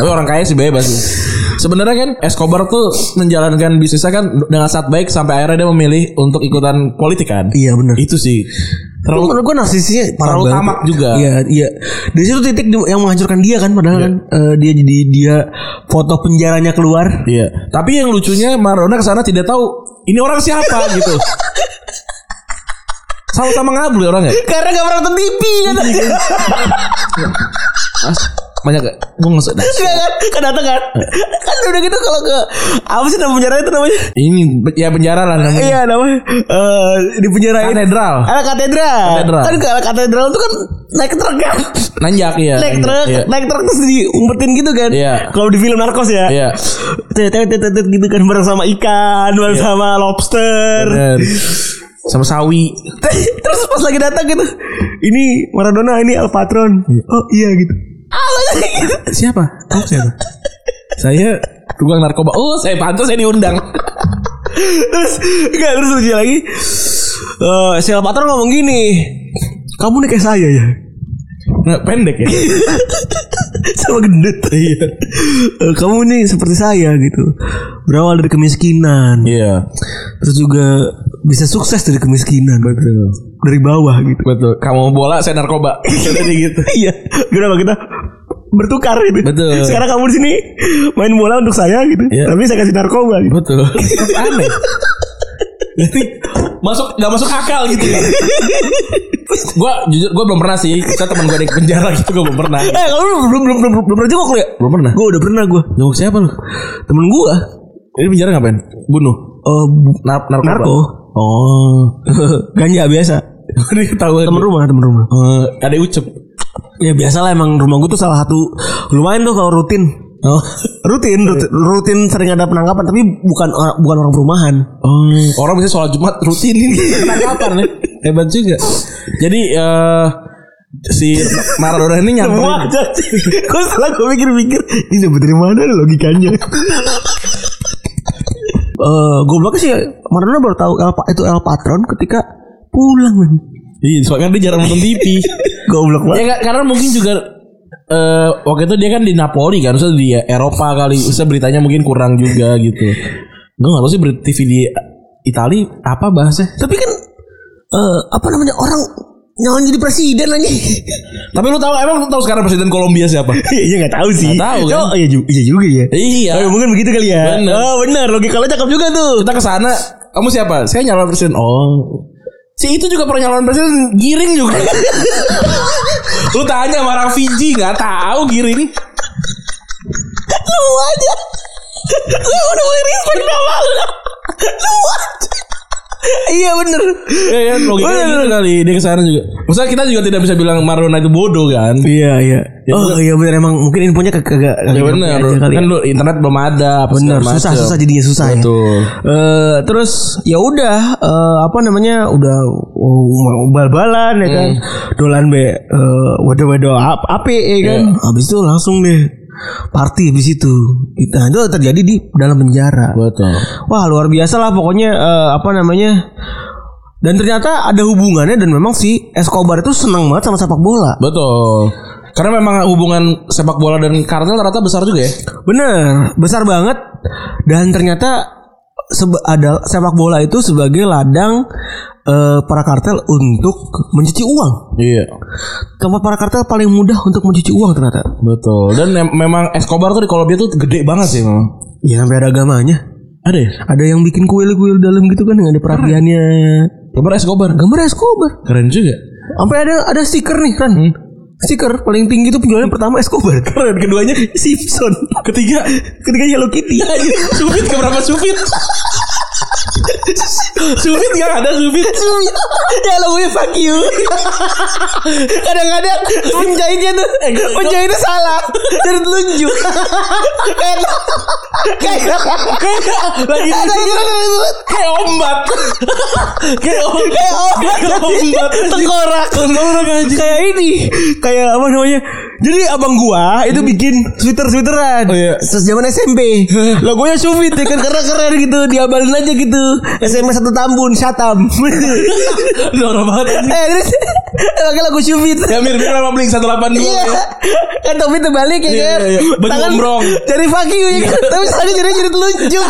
C: Tapi orang kaya sih bebas sih. Sebenarnya kan Escobar tuh menjalankan bisnisnya kan dengan sangat baik sampai akhirnya dia memilih untuk ikutan politik kan.
B: Iya benar.
C: Itu sih terlalu
B: Menurut gue narsisnya parah
C: Terlalu
B: banget.
C: tamak juga. Iya.
B: Iya iya. Dari situ titik di- yang menghancurkan dia kan padahal kan eh, dia jadi dia foto penjaranya keluar.
C: Iya. Tapi yang lucunya Maradona kesana tidak tahu ini orang siapa gitu. Selalu sama ngablu ya orangnya.
B: Karena gak pernah nonton TV
C: Iya,
B: kan.
C: Mas, banyak gak? Gue ngesek dah.
B: Iya kan. Kan datang kan. Kan udah gitu kalau ke apa sih nama penjara itu namanya?
C: Ini ya penjara lah namanya. Kan
B: Iya namanya eh, di penjara itu.
C: Katedral.
B: Ada katedral.
C: Katedral.
B: Kan kalau katedral itu kan naik truk kan.
C: Nanjak ya.
B: naik truk, naik truk terus diumpetin gitu kan.
C: Iya.
B: Kalau di film narkos ya.
C: Iya.
B: Tet- tet- tet- tet gitu kan bareng sama ikan, bareng sama lobster.
C: Iya. Bener. Sama sawi.
B: terus pas lagi datang gitu. Ini Maradona, ini El Patron. Oh iya gitu.
C: Siapa? Kamu siapa? saya tukang narkoba. Oh, saya pantas saya diundang.
B: terus enggak terus lucu lagi. Eh si El Patron ngomong gini. Kamu nih kayak saya ya.
C: Nggak pendek ya.
B: sama gendut. Iya. Kamu nih seperti saya gitu. Berawal dari kemiskinan.
C: Iya.
B: Terus juga bisa sukses dari kemiskinan.
C: Betul.
B: Dari bawah gitu.
C: Betul. Kamu bola, saya narkoba. Jadi gitu.
B: iya. Kenapa kita bertukar gitu.
C: Betul.
B: Sekarang kamu di sini main bola untuk saya gitu.
C: Iya.
B: Tapi saya kasih narkoba gitu.
C: Betul. Aneh. Jadi masuk nggak masuk akal gitu. gua jujur gua belum pernah sih. Kita teman gua di penjara gitu gua belum pernah.
B: Eh, kamu belum belum belum belum, belum pernah jenguk lu ya?
C: Belum pernah.
B: Gue udah pernah gue.
C: Jenguk siapa lu?
B: Temen gue
C: Ini penjara ngapain? Bunuh.
B: eh
C: Nar narkoba.
B: narko.
C: Oh.
B: Ganja biasa.
C: Ini ketahuan.
B: Temen rumah, temen rumah.
C: Eh, ada ucep.
B: Ya biasa lah emang rumah gue tuh salah satu lumayan tuh kalau rutin.
C: Oh.
B: Rutin, rutin, rutin sering ada penangkapan tapi bukan orang bukan orang perumahan.
C: Oh, orang bisa sholat Jumat rutin ini penangkapan ya. Hebat juga. Jadi eh si Maradona
B: Wah,
C: ini nyamperin.
B: gue salah gue mikir-mikir ini dapat dari mana nih logikanya? Eh, gobloknya sih Maradona baru tahu El Pa- itu El Patron ketika pulang men.
C: Iya, soalnya dia jarang nonton TV.
B: Goblok
C: ya
B: banget.
C: nggak, karena mungkin juga eh waktu itu dia kan di Napoli kan, maksudnya di Eropa kali, bisa beritanya mungkin kurang juga gitu. Gue nggak tahu sih berita TV di Itali apa bahasnya.
B: Tapi kan eh, apa namanya orang nyalon jadi presiden lagi.
C: Tapi lu tahu emang lu tahu sekarang presiden Kolombia siapa?
B: Iya nggak tahu sih.
C: Nggak tahu,
B: tahu
C: kan?
B: Oh, iya, ju- iya juga ya.
C: iya.
B: Oh, mungkin begitu kali ya.
C: Bener.
B: Oh benar logika lo cakep juga tuh.
C: Kita ke sana, kamu siapa? Saya nyalon presiden. Oh. Si itu juga pernah nyalon presiden giring juga. Lu tanya sama orang Fiji nggak tahu giring.
B: Lu aja. Lu udah mulai respect sama lu. Lu aja. Iya bener.
C: Ya ya logikanya gitu kali dia kesana juga. Maksudnya kita juga tidak bisa bilang Maradona itu bodoh kan.
B: Iya iya. Oh iya bener emang mungkin infonya kagak kagak
C: Ya
B: kagak
C: benar.
B: nyampe aja kali ya.
C: Kan lu internet belum ada. apa
B: Bener,
C: segala
B: susah
C: macem.
B: susah jadinya susah ya.
C: Betul.
B: Eh, terus ya udah eh, apa namanya udah oh, mau bal-balan ya kan. Dolan be eh, wadah-wadah ap ape ya kan. Habis itu langsung deh party habis itu. Nah, itu terjadi di dalam penjara.
C: Betul.
B: Wah luar biasa lah pokoknya eh, apa namanya dan ternyata ada hubungannya dan memang si Escobar itu senang banget sama sepak bola.
C: Betul. Karena memang hubungan sepak bola dan kartel ternyata besar juga ya.
B: Bener besar banget dan ternyata sebe- ada sepak bola itu sebagai ladang eh, para kartel untuk mencuci uang.
C: Iya.
B: Tempat para kartel paling mudah untuk mencuci uang ternyata.
C: Betul. Dan em- memang Escobar tuh di Kolombia tuh gede banget sih memang.
B: Ya sampai ada agamanya.
C: Ada ya?
B: Ada yang bikin kuil-kuil dalam gitu kan dengan ada perapiannya.
C: Gambar Escobar.
B: Gambar Escobar.
C: Keren juga.
B: Sampai ada ada stiker nih Ran.
C: Hmm?
B: Stiker paling tinggi itu penjualannya pertama Escobar. Keren keduanya Simpson. Ketiga ketiga Hello Kitty.
C: Sufit keberapa Sufit? Sufit gak ada Sufit.
B: ya lo gue fuck you. Kadang-kadang penjahitnya tuh
C: Eh,
B: penjahitnya salah dan telunjuk. Kayak kayak
C: Lagi
B: ada kira kira
C: kayak ombak. kayak ombak.
B: kayak ombak tengkorak tengkorak kayak ini kayak apa namanya jadi abang gua itu bikin sweater sweateran
C: Hmm. Oh, iya.
B: terus zaman SMP logonya Sufit ya kan keren keren gitu diabalin aja gitu SMP satu Tambun Satam
C: Norak banget. anjing.
B: eh terus pakai lagu Sufit
C: Ya mirip-mirip sama Blink 182.
B: Iya. Kan topi terbalik ya
C: Iya,
B: kan.
C: iya, iya. Baju gombrong.
B: Dari fuck you ya kan. Tapi soalnya jadi Iya, jadi
C: Iya,
B: telunjuk.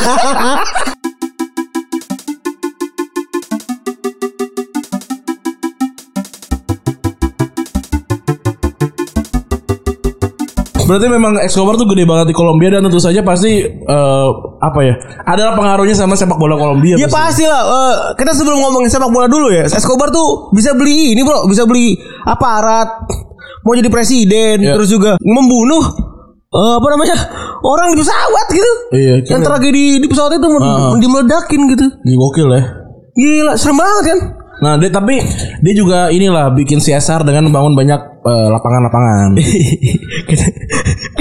C: Berarti memang Escobar tuh gede banget di Kolombia dan tentu saja pasti eh, apa ya? Adalah pengaruhnya sama sepak bola Kolombia.
B: Ya pasti lah. Eh, kita sebelum ngomongin sepak bola dulu ya. Escobar tuh bisa beli ini bro. Bisa beli aparat. Mau jadi presiden.
C: Iya.
B: Terus juga membunuh. eh, apa namanya orang di pesawat gitu
C: Iya,
B: yang
C: keren.
B: tragedi di pesawat itu
C: Ah.
B: mau dimeledakin gitu
C: Ini gokil ya.
B: gila serem banget kan
C: Nah, dia tapi dia juga inilah bikin CSR dengan membangun banyak eh, lapangan-lapangan.
B: Kayak-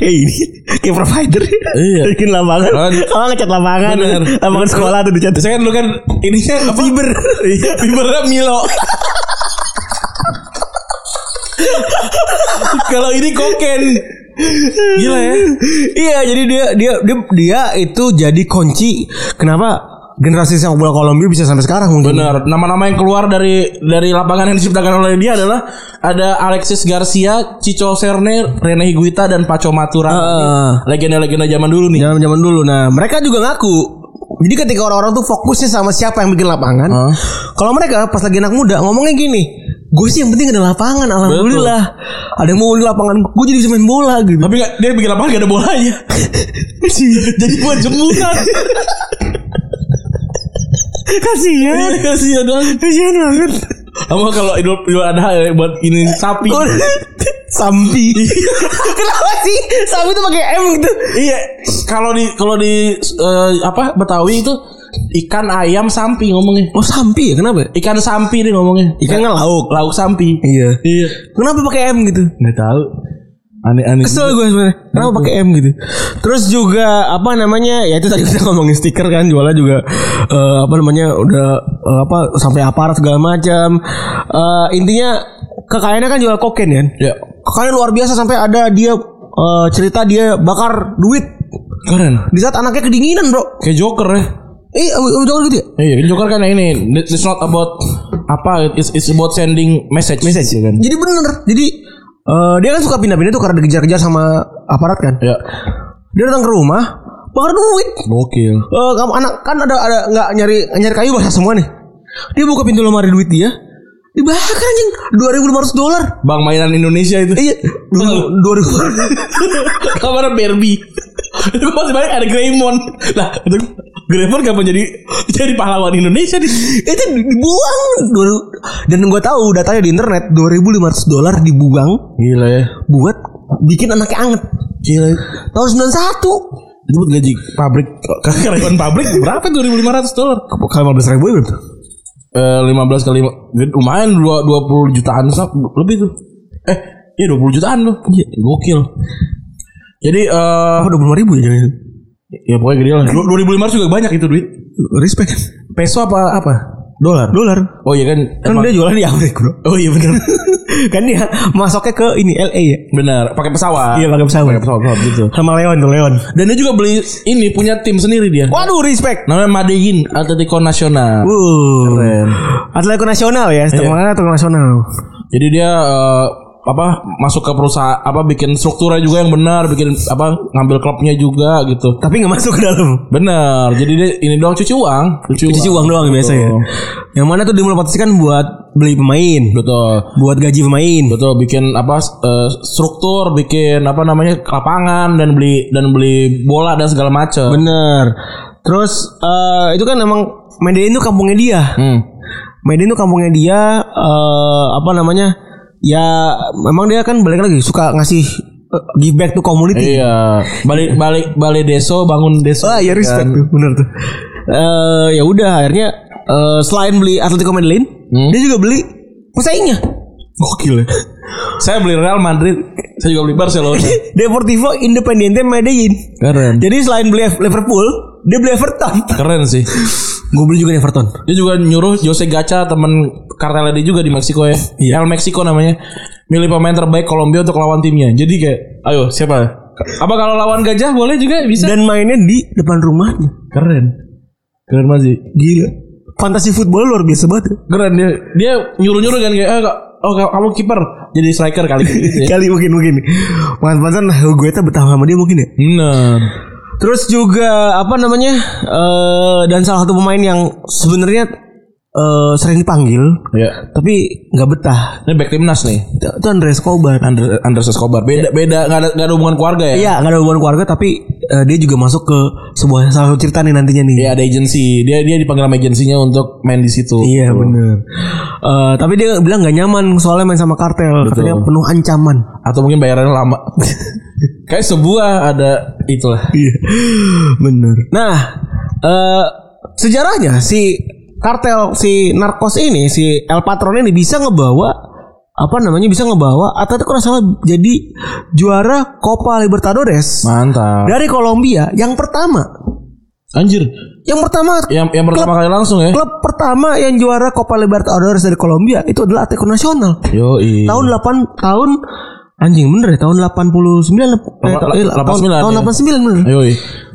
B: kayak ini kayak provider
C: Iya.
B: bikin lapangan
C: Oh, di-
B: oh ngecat lapangan
C: Bener.
B: lapangan sekolah tuh dicat
C: Biasanya kan lu kan ini kan apa? Fiber. Fibernya Milo. Kalau ini koken. Gila ya.
B: iya jadi dia dia dia dia itu jadi kunci kenapa generasi sepak bola Kolombia bisa sampai sekarang mungkin
C: Benar. Nama-nama yang keluar dari dari lapangan yang diciptakan oleh dia adalah ada Alexis Garcia, Cico Cerne, Rene Higuita dan Paco Matura.
B: Heeh.
C: Legenda-legenda zaman dulu nih.
B: zaman zaman dulu nah mereka juga ngaku jadi ketika orang-orang tuh fokusnya sama siapa yang bikin lapangan
C: Heeh.
B: kalau mereka pas lagi anak muda ngomongnya gini gue sih yang penting ada lapangan alhamdulillah ada yang mau di lapangan gue jadi bisa main bola gitu
C: Tapi nggak- dia bikin lapangan gak ada bolanya. Jadi buat jemputan.
B: kasihan
C: Iya, Kasihan banget.
B: kasihan banget
C: Kamu kalau idul idul adha ya, buat ini sapi.
B: Oh, Sampi. Kenapa sih? Sampi tuh pakai M gitu.
C: iya. Kalau di kalau di eh, apa Betawi itu ikan ayam sampi ngomongnya.
B: Oh, Sampi ya? Kenapa?
C: Ikan sampi nih ngomongnya.
B: Ikan kan lauk.
C: lauk sampi.
B: Iya.
C: Iya.
B: Kenapa pakai M gitu?
C: Nggak tahu. Aneh-aneh.
B: Kesel gue sebenarnya. Kenapa pakai M gitu? Terus juga apa namanya? Ya itu tadi kita ngomongin stiker kan jualnya juga eh, apa namanya? Udah eh, apa sampai aparat segala macam. Eh, intinya kekayaannya kan jual kokain kan.
C: Ya.
B: Kekayaannya luar biasa sampai ada dia eh, cerita dia bakar duit
C: Keren.
B: di saat anaknya kedinginan, Bro.
C: Kayak Joker ya.
B: Eh, jangan gitu ya?
C: Iya, kan Joker kan yang ini. It's not about apa, it's, it's about sending message. Message ya kan.
B: Jadi bener Jadi eh, Dia kan suka pindah-pindah tuh Karena dikejar-kejar sama aparat kan
C: Ya.
B: Dia datang ke rumah Bakar duit
C: Gokil.
B: Eh, kamu anak Kan ada ada nggak nyari nyari kayu basah semua nih Dia buka pintu lemari duit dia Dibakar anjing 2.500 dolar
C: Bang mainan Indonesia itu.
B: Iya 2000
C: Kamar Barbie. Itu gue masih banyak ada Greymon. Lah, itu Greymon kapan jadi jadi pahlawan Indonesia di
B: itu dibuang Dua- dan gue tahu datanya di internet 2.500 dolar dibuang
C: Gila ya.
B: buat bikin anaknya anget
C: Gila.
B: tahun 91
C: Itu buat gaji pabrik karyawan pabrik berapa 2500 dolar?
B: kalau 15 ribu ya belum tuh?
C: Eh 15 kali lima- lumayan dua- 20 jutaan sah, lebih tuh. Eh, iya 20 jutaan tuh. Gokil. Jadi eh
B: apa 25 ribu ya jangan
C: ya pokoknya gede lah. 2500 juga banyak itu duit.
B: respect
C: Peso apa apa? Dolar.
B: dolar
C: Oh iya kan.
B: kan
C: emang-
B: dia jualan di Amerika bro
C: oh iya benar.
B: kan dia masuknya ke ini LA ya
C: benar, pakai pesawat.
B: iya pakai pesawat
C: gitu.
B: sama Leon tuh Leon
C: Dan dia juga beli ini punya tim sendiri dia.
B: waduh respect
C: Namanya Madein Atletico Nasional.
B: Wuh. Atletico nasional ya, setengahnya Atletico nasional.
C: Jadi dia eh, apa masuk ke perusahaan apa bikin strukturnya juga yang benar, bikin apa ngambil klubnya juga gitu.
B: Tapi nggak masuk ke dalam.
C: Bener. Jadi dia ini doang cuci uang, cuci,
B: Cuci uang doang biasa ya. Yang mana tuh dimanfaatkan buat beli pemain,
C: Betul.
B: buat gaji pemain.
C: Betul bikin apa eh, struktur, bikin apa namanya lapangan dan beli dan beli bola dan segala macam.
B: Bener. Terus eh, itu kan emang Medan itu kampungnya dia.
C: Hmm.
B: Medan itu kampungnya dia eh, apa namanya? Ya memang dia kan balik lagi suka ngasih eh, give back to community.
C: Iya, balik balik balik deso bangun deso.
B: Wah, ya respect tuh, bener tuh. Eh ya udah akhirnya eh, selain beli Atletico Madrid,
C: Hmm.
B: dia juga beli pesaingnya.
C: Gokil. ya. saya beli Real Madrid, saya juga beli Barcelona.
B: Deportivo Independiente Medellin.
C: Keren.
B: Jadi selain beli Liverpool, dia beli Everton.
C: Keren sih.
B: Gue beli juga nih Everton.
C: Dia juga nyuruh Jose Gacha temen kartelnya dia juga di Meksiko ya. El Meksiko namanya. Milih pemain terbaik Kolombia untuk lawan timnya. Jadi kayak ayo siapa? Apa kalau lawan gajah boleh juga bisa?
B: Dan mainnya di depan rumahnya.
C: Keren. Keren banget sih.
B: Gila. Fantasi football luar biasa banget. ya.
C: Keren dia. Dia nyuruh-nyuruh kan kayak eh, kak- oh ka- kamu kiper jadi striker kali gitu ya.
B: Kali mungkin mungkin. Mantan-mantan gue tak betah sama dia mungkin ya.
C: Bener.
B: Terus juga apa namanya? eh, dan salah satu pemain yang sebenarnya eh, sering dipanggil
C: Ya.
B: tapi nggak betah.
C: Ini back timnas nih.
B: Itu Andres Kobar.
C: Andre Andres Escobar. Beda beda nggak ada nggak ada hubungan keluarga ya.
B: Iya, nggak ada hubungan keluarga tapi eh, dia juga masuk ke sebuah salah satu cerita nih nantinya nih.
C: Iya ada agensi. Dia dia dipanggil sama agensinya untuk main di situ.
B: Iya bener Eh, Tapi dia bilang gak nyaman Soalnya main sama kartel Katanya penuh ancaman
C: Atau mungkin bayarannya lama. Kayak sebuah ada itulah.
B: Iya Bener Nah eh Sejarahnya si Kartel si narkos ini Si El Patron ini bisa ngebawa apa namanya bisa ngebawa Atletico Nacional jadi juara Copa Libertadores
C: Mantap.
B: dari Kolombia yang pertama
C: Anjir.
B: yang pertama
C: Yang yang pertama kali langsung ya.
B: klub pertama yang juara Copa Libertadores dari Kolombia itu adalah Atletico Nacional
C: Yo
B: tahun 8 tahun anjing bener ya tahun 89 eh,
C: Lapa-
B: ta- iya,
C: la-
B: tahun,
C: 89
B: tahun
C: ya.
B: 89 bener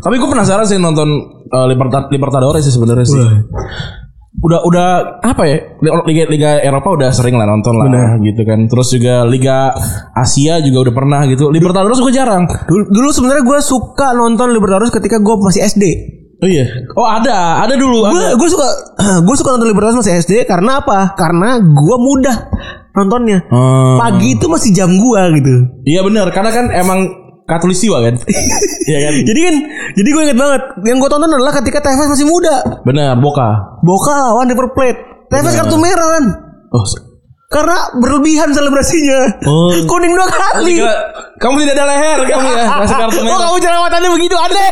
C: Tapi gue penasaran sih nonton eh, Liberta- Libertadores sih sebenarnya sih. Udah udah apa ya? Liga Liga Eropa udah sering lah nonton lah gitu kan. Terus juga Liga Asia juga udah pernah gitu. Libertadores gue jarang.
B: dulu, dulu sebenarnya gue suka nonton Libertadores ketika gue masih SD
C: Oh iya. Oh ada, ada dulu.
B: gue
C: Ada.
B: gue suka gue suka nonton Libertadores masih SD karena apa karena gue mudah nontonnya
C: Hmm.
B: pagi itu masih jam gue gitu
C: Iya benar, karena kan emang katulistiwa kan. Iya kan?
B: jadi kan jadi gue inget banget yang gue tonton adalah ketika Tevez masih muda
C: Benar, Boka.
B: Boca lawan River Plate Tevez kartu merah kan
C: Oh. se-
B: karena berlebihan selebrasinya
C: Oh.
B: kuning dua kali
C: Gila, Kamu tidak ada leher kamu ya, masih kartu
B: Oh
C: merah.
B: kamu jerawatannya begitu aneh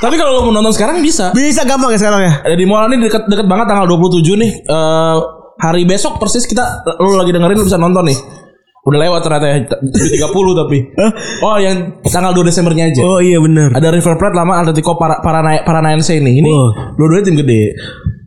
C: Tapi kalau lo mau nonton sekarang bisa.
B: Bisa gampang ya sekarang ya
C: Eh, Di mall ini deket deket banget tanggal 27 nih. Eh hari besok persis kita lo lagi dengerin lo bisa nonton nih. Udah lewat ternyata ya, t- 30 tapi. Oh, yang tanggal 2 Desembernya aja.
B: Oh iya bener
C: Ada River Plate lama Atletico Para- Parana- Paranaense ini. Ini
B: Wow.
C: dua-duanya tim gede.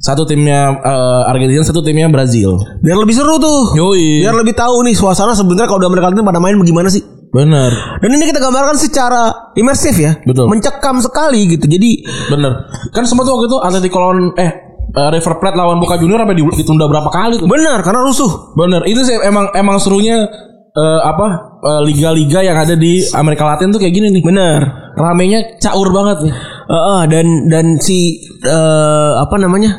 C: Satu timnya eh, Argentina, satu timnya Brazil.
B: Biar lebih seru tuh
C: Yoi.
B: Biar lebih tahu nih suasana sebenarnya kalau di Amerika Latin pada main bagaimana sih
C: Bener,
B: Dan ini kita gambarkan secara imersif ya
C: Betul.
B: Mencekam sekali gitu Jadi
C: bener. Kan sempat tuh waktu itu Atletico lawan eh eh, River Plate lawan Boca Junior sampai di- ditunda berapa kali tuh.
B: benar karena rusuh
C: Bener, itu sih emang emang serunya eh, apa eh, liga-liga yang ada di Amerika Latin tuh kayak gini nih.
B: Bener
C: Ramenya caur banget nih.
B: Heeh, dan Ah, dan si eh, apa namanya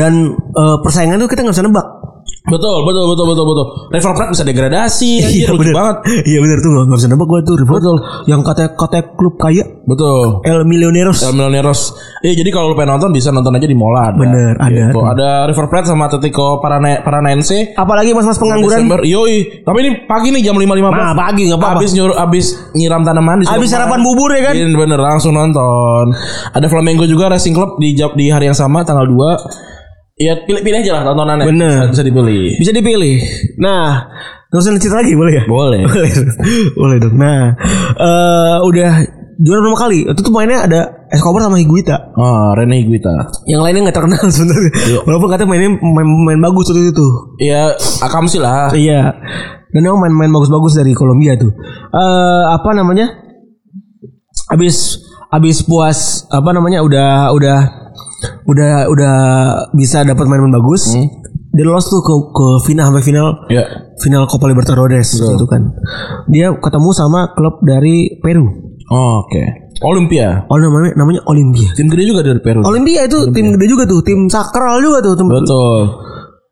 B: dan eh, persaingan tuh kita nggak bisa nebak
C: Betul, betul, betul, betul, betul. River Plate bisa degradasi, anjir,
B: Iya
C: lucu
B: bener
C: banget.
B: Iya bener tuh nggak bisa nebak gue tuh River Plate. Yang katanya katanya klub kaya
C: Betul.
B: El Millioneros
C: El Milloneiros. Iya, jadi kalau lu pengen nonton bisa nonton aja di Mola. Ada.
B: Bener, ada.
C: Gitu. Ada River Plate sama Atletico Parana Paranaense.
B: Apalagi mas-mas pengangguran
C: Desember. Yoi. Tapi ini pagi nih jam 5.15.
B: Nah pagi nggak apa-apa
C: Abis nyuruh abis nyiram tanaman di
B: Abis sarapan bubur ya kan
C: Iya bener langsung nonton. Ada Flamengo juga Racing Club di jam- di hari yang sama tanggal 2. Ya pilih-pilih aja lah tontonannya.
B: Bener.
C: Bisa dipilih.
B: Bisa dipilih Nah Gak usah cerita lagi boleh ya
C: Boleh.
B: boleh boleh dong nah eh udah juara pertama kali itu tuh mainnya ada Escobar sama Higuita
C: Oh, Rene Higuita.
B: yang lainnya nggak terkenal sebenarnya
C: Iya.
B: walaupun katanya mainnya main, main bagus waktu itu
C: Ya, akam sih lah.
B: iya dan emang main-main bagus-bagus dari Kolombia tuh eh apa namanya abis abis puas apa namanya udah udah udah udah bisa dapat main-main bagus dia lolos tuh ke ke final sampai final
C: Ya.
B: final Copa Libertadores gitu kan. Dia ketemu sama klub dari Peru.
C: Oh, Oke. Olimpia.
B: Oh namanya namanya Olimpia.
C: Tim gede juga dari Peru.
B: Olimpia itu tim gede juga tuh, tim sakral juga tuh. Tim,
C: Betul.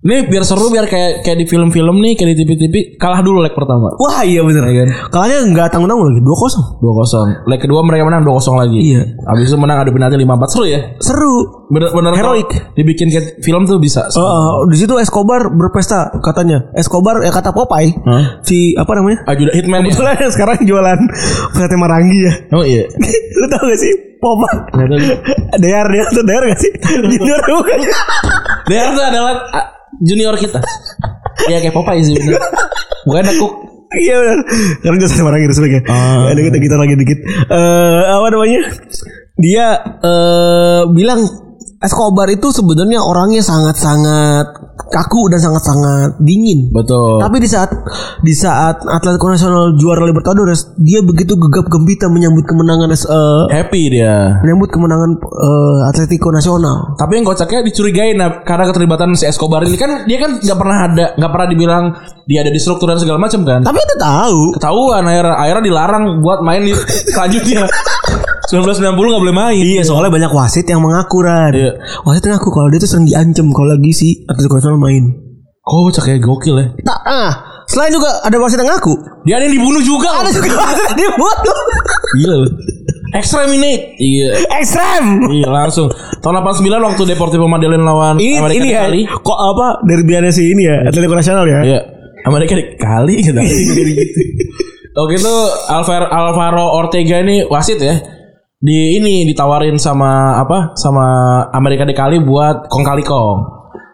C: Ini biar seru biar kayak kayak di film-film nih, kayak di TV-TV kalah dulu leg pertama.
B: wah iya bener kan. Kalahnya nggak tanggung tanggung lagi 2-0.
C: 2-0. Leg kedua mereka menang 2-0 lagi.
B: Iya.
C: Habis itu menang ada penalti 5-4 seru ya.
B: Seru.
C: Bener bener
B: Heroik.
C: kalau Dibikin kayak film tuh bisa.
B: Eh, eh, di situ Escobar berpesta katanya. Escobar ya kata Popeye.
C: Hah?
B: Si apa namanya?
C: Ajudan Hitman ya.
B: Itulah yang sekarang jualan sate marangi ya.
C: Oh iya.
B: Lu tau gak sih Popeye? Dayar, Dayar tuh Dayar gak sih? Junior bukan?
C: Dia itu adalah ah, junior kita. Iya kayak Popeye sih bener. Bukan ada cook.
B: Iya benar. Karena jasa sama Rangir sebenarnya.
C: Ah.
B: Ada kita kita lagi dikit. Eh apa namanya? Dia eh bilang Escobar itu sebenarnya orangnya sangat-sangat kaku dan sangat-sangat dingin.
C: Betul.
B: Tapi di saat di saat Atletico Nasional juara Libertadores, dia begitu gegap gempita menyambut kemenangan eh,
C: Happy dia.
B: menyambut kemenangan eh, Atletico Nasional.
C: Tapi yang kocaknya dicurigain nah, karena keterlibatan si Escobar ini kan dia kan nggak pernah ada nggak pernah dibilang dia ada di struktur dan segala macam kan.
B: Tapi udah tahu.
C: Ketahuan akhirnya akhirnya dilarang buat main di selanjutnya. 1990 nggak boleh main.
B: Iya soalnya banyak wasit yang mengaku Ran.
C: Iya.
B: Wasit ngaku kalau dia tuh sering diancam kalau lagi si Atletico Nasional main.
C: Kocak ya gokil ya.
B: Tak ah. Selain juga ada wasit yang ngaku.
C: Dia ada yang dibunuh juga.
B: Ada juga wasit yang dibuat tuh.
C: Gila lu. Exterminate. Iya.
B: Ekstrem.
C: Iya langsung. Tahun 89 waktu Deportivo Madeleine lawan
B: Ini,
C: Amerika
B: ini ya.
C: dikali.
B: Kok apa derbynya sih ini ya? Atletico Nasional ya.
C: Iya. Amerika dikali gitu. Oke itu Alvaro, gitu, Alvaro Ortega ini wasit ya. Di ini ditawarin sama apa? Sama Amerika dikali buat kong kali kong.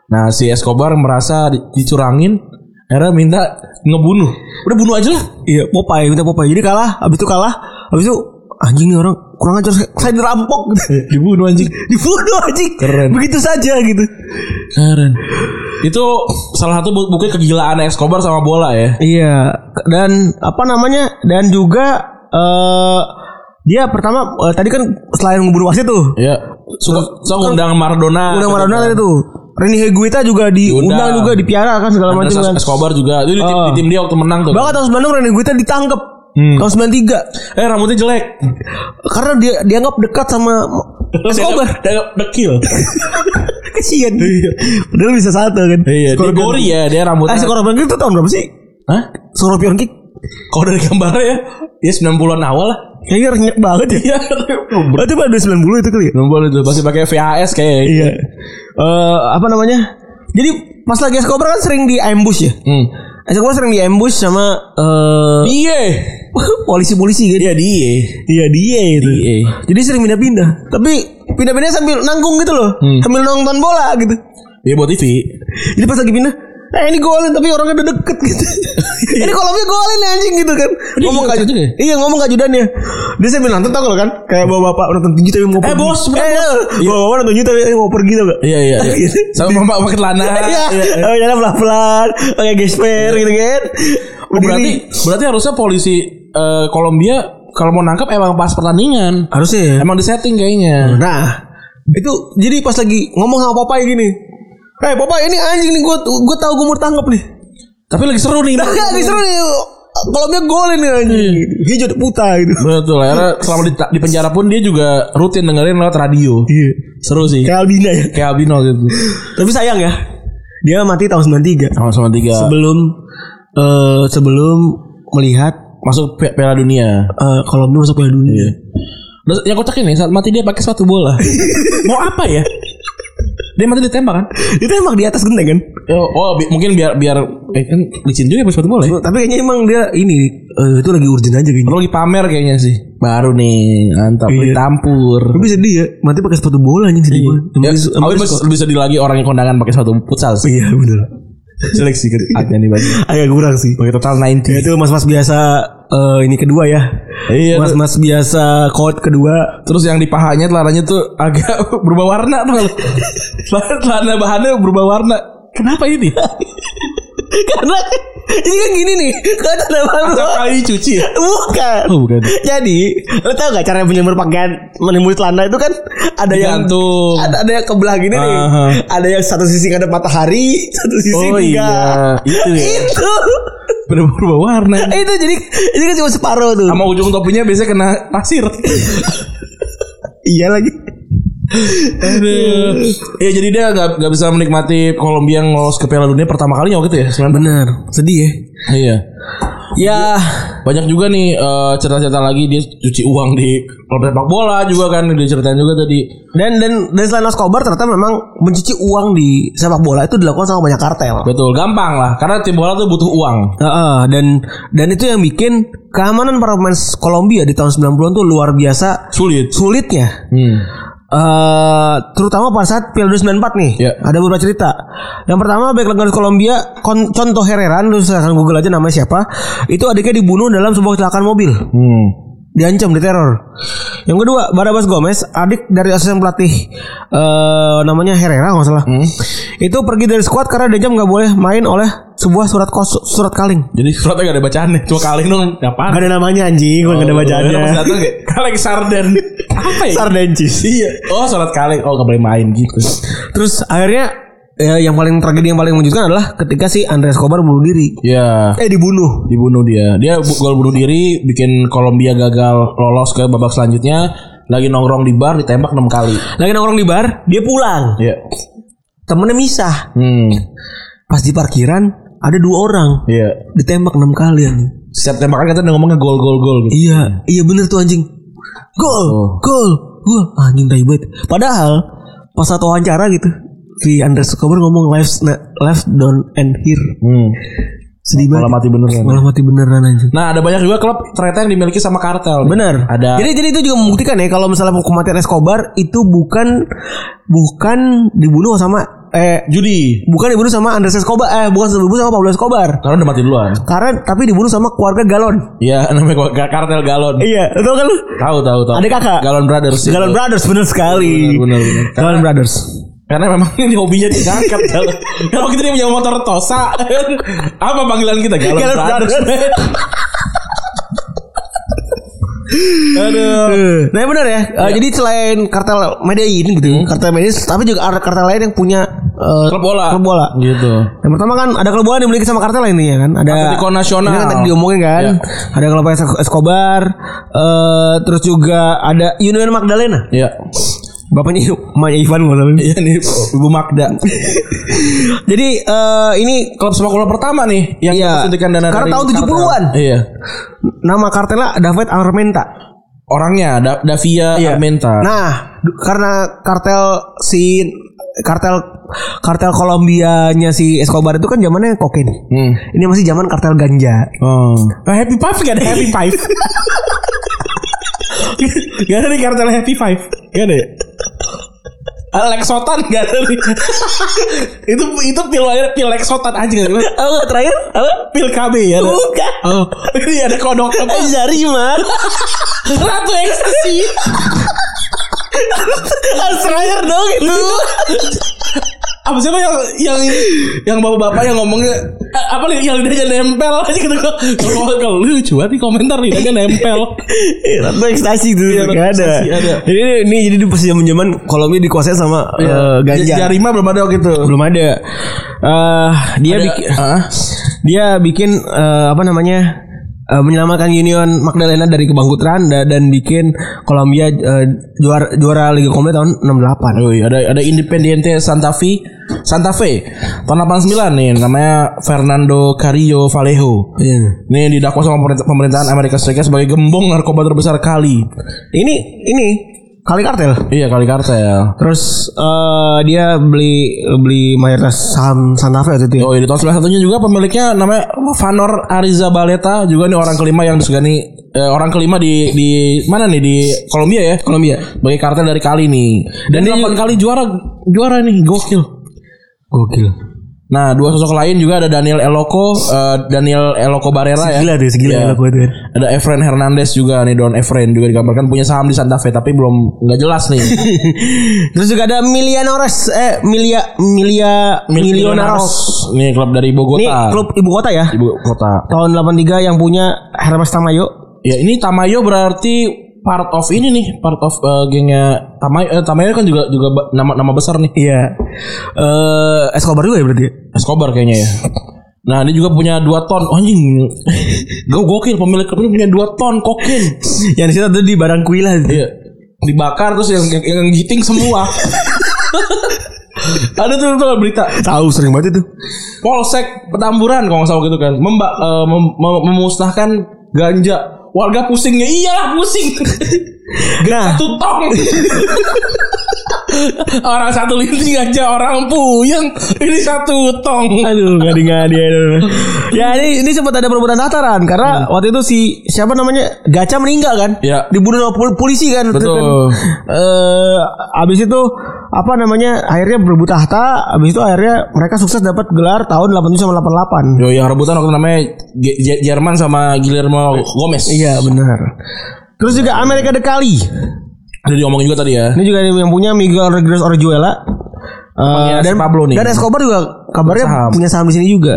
C: Nah si Escobar merasa di- dicurangin, akhirnya minta ngebunuh. Udah bunuh aja lah.
B: Iya, Popeye minta Popeye. Jadi kalah, habis itu kalah, habis itu anjing nih orang kurang ajar saya- saya dirampok
C: Dibunuh anjing.
B: dibunuh anjing
C: Keren.
B: begitu saja gitu
C: Keren. Itu salah satu bu- bukti kegilaan Escobar sama bola ya.
B: iya dan apa namanya dan juga eh dia pertama eh, tadi kan selain ngebunuh wasit tuh
C: Iya. Suka, suka ngundang Maradona.
B: undang Maradona itu Reni Higuita juga diundang
C: Iya, Diundang.
B: juga dipiara kan segala macam
C: Andres
B: kan
C: Escobar juga itu di, tim,
B: Oh.
C: di tim dia waktu menang tuh.
B: Bahkan tahun 90 Rene Guita ditangkap
C: Hmm.
B: Tahun 93
C: Eh rambutnya jelek.
B: Karena dia dianggap dekat sama Escobar
C: Dianggap dekil.
B: Kesian Iya. Padahal bisa satu kan
C: Iya, dia
B: Scorpion.
C: gori ya,
B: Eh
C: dia rambutnya.
B: Scorpion Kick itu tahun berapa sih?
C: Hah?
B: Scorpion Kick
C: Kalau dari gambarnya ya, dia 90-an awal lah.
B: Kayaknya renyek banget ya
C: Iya.
B: Berarti pada 90 itu kali ya
C: 90 itu pasti pakai VHS kayak.
B: Iya Eh, Apa namanya Jadi pas lagi Escobar kan sering di ambush ya
C: Hmm.
B: Escobar sering di ambush sama eh,
C: Iya.
B: Polisi-polisi gitu
C: Iya dia.
B: Iya dia itu.
C: Iya.
B: Jadi sering pindah-pindah. Tapi pindah-pindah sambil nanggung gitu loh. Sambil nonton bola gitu.
C: Iya buat TV.
B: Jadi pas lagi pindah, eh ini golin tapi orangnya udah deket gitu. ini kolomnya golin ya, anjing gitu kan.
C: Iya. Dia
B: ngomong
C: juga
B: ke
C: juga ya?
B: Iya, ngomong ke ajudannya. Dia sambil nonton tau kalau kan kayak bawa bapak nonton tinju tapi mau pergi.
C: bos, bener,
B: eh, bawa bapak nonton tinju tapi eh, mau pergi tau gak?
C: Iya iya. iya.
B: Gitu.
C: Sama mama pakai celana.
B: Iya, oh, jalan pelan-pelan, pakai gesper gitu kan.
C: Oh, berarti berarti harusnya polisi eh, Kolombia kalau mau nangkap emang pas pertandingan.
B: harusnya ya.
C: Emang disetting kayaknya.
B: Nah, itu jadi pas lagi ngomong sama Popeye gini. Hei Popeye "Eh, ini anjing nih gue gue tahu gue mau tangkap nih.
C: Tapi lagi seru nih.
B: Enggak nih seru nih. Kalau dia gol ini anjing. Dia jadi buta gitu.
C: Betul, akhirnya selama di, di penjara pun dia juga rutin dengerin lewat radio.
B: Iya.
C: Seru sih.
B: Kayak Albina ya.
C: Kayak Albino gitu.
B: Tapi sayang ya. Dia mati tahun 93.
C: Sama sama tiga.
B: Sebelum eh sebelum melihat
C: Masuk Pi- Piala Dunia.
B: eh, Kolombia masuk Piala Dunia.
C: Terus yang kocak ini saat mati dia pakai sepatu bola. Mau apa ya? Dia mati ditembak kan?
B: Itu emang di atas genteng kan?
C: Oh, oh, bi- mungkin biar biar eh kan licin juga ya pakai sepatu bola ya.
B: Tapi kayaknya emang dia ini eh, itu lagi urgent aja kayaknya.
C: Lu lagi pamer kayaknya sih. Baru nih, mantap
B: Iya.
C: ditampur.
B: Tapi sedih ya, mati pakai sepatu bola anjing sedih banget.
C: Ya,
B: Emang dia- emang
C: tapi
B: dia
C: bisa,
B: suka-
C: bisa dilagi orang yang kondangan pakai sepatu futsal sih.
B: Iya bener.
C: Jelek sih saatnya nih Iya, bagi.
B: Agak kurang sih.
C: Pakai total
B: Ya,
C: 90.
B: itu mas-mas biasa eh, ini kedua ya.
C: Iya,
B: Mas-mas biasa court kedua.
C: Terus yang di pahanya telananya tuh agak berubah warna tuh. Celana celana bahannya berubah warna. Kenapa ini?
B: Karena ini kan gini nih, kata
C: Setiap
B: nama
C: kali cuci. ya?
B: Bukan.
C: Oh, bukan.
B: Jadi, lo tau gak cara penjemur pakaian menimbul celana itu kan ada yang
C: Digantung.
B: ada, ada yang kebelah gini nih.
C: Aha.
B: Ada yang satu sisi ada matahari, satu sisi
C: Oh iya,
B: enggak.
C: itu ya.
B: Itu.
C: Berubah, berubah warna.
B: itu jadi ini kan cuma separuh tuh.
C: Sama ujung topinya biasanya kena pasir.
B: iya lagi.
C: Aduh. Iya jadi dia gak, nggak bisa menikmati Kolombia yang lolos ke Piala Dunia pertama kalinya waktu itu ya 90.
B: Bener, sedih ya.
C: Iya.
B: Ya,
C: Banyak juga nih eh, cerita-cerita lagi dia cuci uang di klub sepak bola juga kan dia ceritain juga tadi.
B: dan dan dan selain Escobar ternyata memang mencuci uang di sepak bola itu dilakukan sama banyak kartel.
C: Betul, gampang lah karena tim bola tuh butuh uang.
B: Heeh, dan dan itu yang bikin keamanan para pemain Kolombia di tahun 90-an tuh luar biasa
C: Sulit.
B: sulitnya.
C: Hmm.
B: Eh, terutama pada saat Piala 94 nih.
C: Ya.
B: Ada beberapa cerita. Yang pertama back lengan Kolombia kon- contoh Hereran lu silahkan Google aja namanya siapa. Itu adiknya dibunuh dalam sebuah kecelakaan mobil.
C: Hmm.
B: Diancam diteror. Yang kedua, Barabas Gomez, adik dari asisten pelatih eh namanya Herrera nggak salah. Itu pergi dari skuad karena diancam nggak boleh main oleh sebuah surat kos surat kaleng.
C: Jadi suratnya gak ada bacaannya, cuma kaleng dong. Oh, Apaan?
B: Gak ada namanya anjing, gue gak ada bacaannya.
C: Pas datang kayak, kaleng sarden. Apa ya?
B: Sardencis.
C: Iya. Oh, surat kaleng. Oh, gak boleh main gitu.
B: Terus akhirnya ya, yang paling tragedi yang paling mengejutkan adalah ketika si Andres Escobar bunuh diri.
C: Ya.
B: Eh dibunuh.
C: dibunuh dia. Dia bu- gol bunuh diri bikin Kolombia gagal lolos ke babak selanjutnya. Lagi nongkrong di bar ditembak 6 kali.
B: Lagi nongkrong di bar, dia pulang.
C: Iya.
B: Temennya misah.
C: Hmm.
B: Pas di parkiran ada dua orang
C: Iya.
B: ditembak enam kali anjing.
C: Setiap tembakan kita udah ngomongnya gol gol gol gitu.
B: Iya, iya bener tuh anjing. Gol,
C: Oh.
B: gol, gol. Anjing tai banget. Padahal pas satu wawancara gitu, si Andres Escobar ngomong left left down and here.
C: Hmm.
B: Sedih
C: Malah
B: banget.
C: mati beneran.
B: Malah mati beneran anjing.
C: Nah, ada banyak juga klub ternyata yang dimiliki sama kartel.
B: Benar.
C: Ada
B: Jadi jadi itu juga membuktikan ya kalau misalnya kematian Escobar itu bukan bukan dibunuh sama eh
C: judi.
B: bukan dibunuh sama Andres Escobar eh bukan dibunuh sama Pablo Escobar.
C: Karena udah mati duluan.
B: Karena tapi dibunuh sama keluarga Galon.
C: Iya, namanya gua- ga- kartel galon.
B: Iya, betul kan lu?
C: Tahu tahu tahu.
B: Ada kakak.
C: Galon Brothers.
B: Galon Brothers bener sekali.
C: Benar, benar, benar.
B: Galon Iya. Brothers.
C: Karena memang ini hobinya diangkat. Galon. Kalau kita dia punya motor Tosa, apa panggilan kita? Galon,
B: Galon
C: Brothers.
B: Brothers.
C: Aduh.
B: Nah yang benar ya. Eh,
C: Iya.
B: Jadi selain kartel Medellin gitu, kartel Medellin, tapi juga ada kartel lain yang punya eh,
C: Hmm. Klub bola.
B: Klub bola.
C: Gitu.
B: Yang pertama kan ada klub bola yang dimiliki sama kartel lah intinya kan. Ada
C: Atletico Nacional.
B: Ini kan tadi diomongin kan.
C: Iya.
B: Ada klub Es- Escobar. eh, terus juga ada Union Magdalena.
C: Iya.
B: Bapaknya Maya Ivan nggak tahu.
C: Iya nih Ibu Magda.
B: Jadi eh, ini
C: Klub sepak bola pertama nih yang
B: Iya.
C: disuntikan dana
B: Karena
C: dari
B: tahun
C: kartel.
B: 70-an.
C: Iya.
B: nama kartelnya David Armenta.
C: Orangnya Da- Davia Armenta.
B: Nah, du- karena kartel si kartel kartel Kolombianya si Escobar itu kan zamannya kokain.
C: Hmm.
B: Ini masih zaman kartel ganja.
C: Oh. Happy Five gak ada Happy Five. gak ada nih kartel Happy Five. Gak ada ya? Lexotan gak ada nih. itu itu pil pil Lexotan aja gak ada.
B: Oh, terakhir apa? Uh.
C: Pil KB ya. ada.
B: Bukan.
C: Oh. Ini ada kodok apa?
B: Eh, Zariman.
C: Ratu
B: ya?
C: ekstasi.
B: Terakhir dong itu.
C: apa siapa yang yang yang bapak-bapak yang ngomongnya eh, apa li- yang lidahnya nempel aja gitu kok kalau kalau lucu banget nih komentar lidahnya nempel
B: Ratu ekstasi itu
C: Iya,
B: Nggak
C: Ratu
B: ada.
C: Ekstasi ada.
B: Jadi ini, ini jadi di pas zaman-zaman Kolombia dikuasai sama eh, ganja.
C: J- Iya. jarima belum ada waktu itu
B: belum ada. Eh dia
C: Ada-
B: bikin
C: ah.
B: dia bikin eh, apa namanya? eh, menyelamatkan Union Magdalena dari kebangkrutan da- dan bikin Kolombia eh, juara juara Liga Kolombia tahun 68.
C: Yoi, ada ada Independiente Santa Fe, Santa Fe tahun 89 nih namanya Fernando Carrillo Vallejo.
B: Iya.
C: Ini didakwa sama pemerintah- pemerintahan Amerika Serikat sebagai gembong narkoba terbesar kali.
B: Ini ini kali kartel.
C: Iya kali kartel.
B: Terus eh, dia beli beli mayoritas saham Santa Fe waktu itu. ya.
C: Oh, di tahun 91-nya juga pemiliknya namanya Vanor Ariza Baleta juga nih orang kelima yang disegani eh, orang kelima di di mana nih di Kolombia ya?
B: Kolombia.
C: Sebagai kartel dari kali nih. Dan, dia 8 kali juara juara nih, gokil.
B: Gokil.
C: Nah, dua sosok lain juga ada Daniel Eloko, eh, Daniel Eloko Barrera ya.
B: Gila deh, segila
C: Iya.
B: enak gue tuh.
C: Ada Efren Hernandez juga nih, Don Efren juga digambarkan punya saham di Santa Fe tapi belum nggak jelas nih.
B: Terus juga ada Milianores eh Milia Milia Milionaros.
C: Nih klub dari Bogota.
B: Ini klub ibu kota ya.
C: ibu kota.
B: Tahun 83 yang punya Hermes Tamayo.
C: Ya, ini Tamayo berarti part of ini nih, part of eh, gengnya Tamayo. eh, Tamayo kan juga juga ba- nama nama besar nih.
B: Iya. Eh Escobar juga ya berarti.
C: Escobar kayaknya ya. Nah, dia juga punya 2 ton. Oh, Anjing. Gue gokil pemilik klub ini punya 2 ton kokain.
B: Yang di situ tuh di barang kuila.
C: Iya. Dibakar terus yang yang, yang giting semua. Ada tuh, tuh berita
B: Tahu sering banget itu.
C: Polsek Petamburan kalau nggak salah gitu kan Memba- eh, mem- mem- memusnahkan ganja warga pusingnya iyalah pusing
B: Nah,
C: satu tong orang satu linting aja orang puyeng ini satu tong
B: aduh gak di gak dia. Ya ini ini sempat ada perbuatan tataran karena waktu itu si siapa namanya Gaca meninggal kan?
C: Iya.
B: Dibunuh sama pol- polisi kan.
C: Betul.
B: Kan? Eh abis itu apa namanya akhirnya berebut tahta abis itu akhirnya mereka sukses dapat gelar tahun 87 sama 88
C: yo yang rebutan waktu namanya Ge- Ge- Jerman sama Guillermo Gomez
B: Iya benar. Terus juga Amerika Dekali.
C: udah diomongin juga tadi ya
B: Ini juga yang punya Miguel Rodriguez Orjuela. Eh,
C: si
B: dan
C: Pablo nih.
B: Dan Escobar juga kabarnya
C: Saham. Iya.
B: punya saham di sini juga.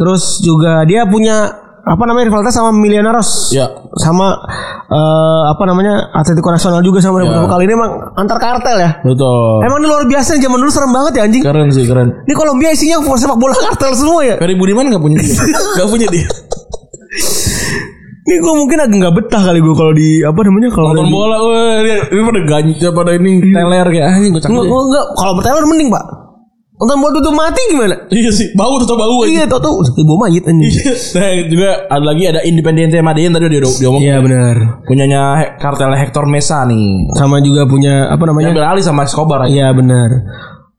B: Terus juga dia punya apa namanya rivalitas sama Millonarios.
C: Iya.
B: Sama eh, apa namanya Atletico Nasional juga
C: Iya.
B: sama beberapa kali ini emang antar kartel ya.
C: betul
B: Emang ini luar biasa zaman dulu serem banget ya anjing.
C: keren sih keren
B: Ini Kolombia isinya sepak bola kartel semua ya.
C: Ferry Budiman nggak punya dia nggak punya dia
B: Ini gue mungkin agak nggak betah kali gue kalau di apa namanya kalau ada di-
C: nonton bola weh, dia- ini pada ganja pada ini teler kayak anjing gue
B: Enggak,
C: cakep
B: enggak, enggak. Kalau bertelur mending pak Nonton bola tutup mati gimana?
C: iya sih bau tetap bau aja
B: Iya tau tuh Ibu mayit ini
C: nah, juga ada lagi ada Independiente Medellin tadi udah dia diomong
B: Iya benar.
C: punyanya He- kartel Hector Mesa nih
B: Sama juga punya Apa namanya
C: ambil alih sama Escobar aja.
B: Iya benar